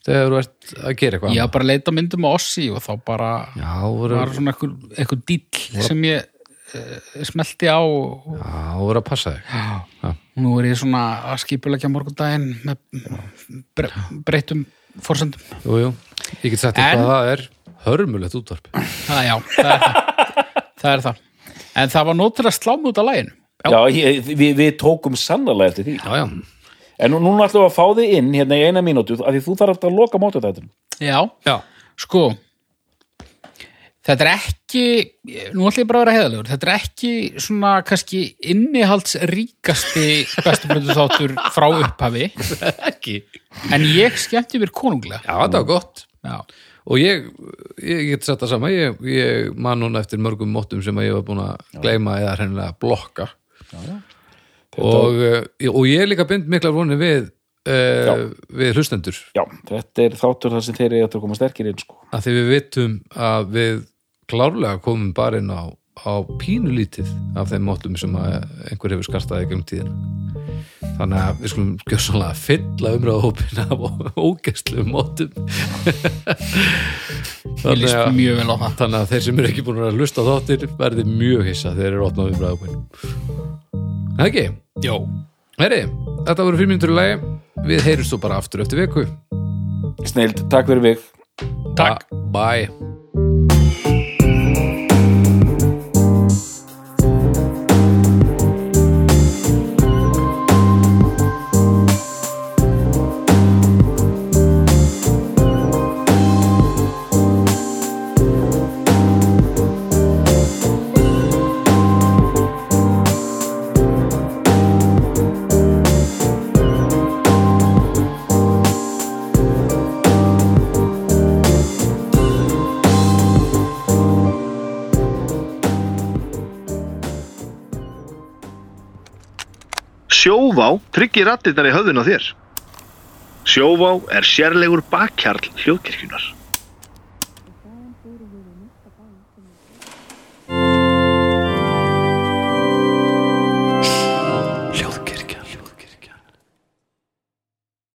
S2: þegar þú ert að gera eitthvað
S4: Ég
S2: annað.
S4: var bara að leita myndum á Ossi og þá bara
S2: Já, þú voru,
S4: var svona einhver, einhver dýll sem ég uh, smelti á og,
S2: já, þú voru að passa þig Já.
S4: Já. Nú er ég svona að skipulegja morgundaginn með bre breyttum forsendum.
S2: Jú, jú, ég get sagt þér
S4: En-
S2: hvað það er hörmulegt útvarp
S4: Það, já, það er það. það er það. En það var nóg til að slá mig út af læginu.
S3: já, ég, við, við tókum sannarlega eftir því
S2: Já, já,
S3: En nú, núna ætlum við að fá þig inn hérna í eina mínútu af því þú þarf alltaf að loka mótið þetta
S4: Já,
S2: já
S4: sko, þetta er ekki nú ætlum ég bara að vera heiðalegur þetta er ekki svona kannski innihaldsríkasti bestu blöndu þáttur frá upphafi
S2: ekki
S4: en ég skemmti mér konunglega
S2: Já, þetta var gott
S4: Já.
S2: og ég, ég get sett það sama ég, ég man núna eftir mörgum móttum sem að ég var búin að gleyma eða hennilega blokka og, eh, og ég er líka bind mikla vonið við uh, við hlustendur
S3: Já, þetta er þáttur þar sem þeir eru að koma sterkir inn sko.
S2: að því við vitum að við klárlega komum bara inn á, á pínulítið af þeim móttum sem að einhver hefur skartaði gegn tíðina þannig að við skulum gjössalega fylla umræðahópin af ógæslu móttum
S4: ég
S2: þannig
S4: líst
S2: að
S4: mjög vel á það
S2: Þannig að þeir sem eru ekki búin að hlusta á þáttir verði mjög hissa þegar þeir eru opnað við bræðuminn. Það ekki? Jó. Herri, þetta voru fyrir mínútur í lagi. Við heyrjumst þú bara aftur eftir viku.
S3: Sneild, takk fyrir mig
S4: Takk.
S2: Ba- Bye.
S1: Sjóvá tryggir rattirnar í höfðun á þér. Sjóvá er sérlegur bakkjarl hljóðkirkjunar.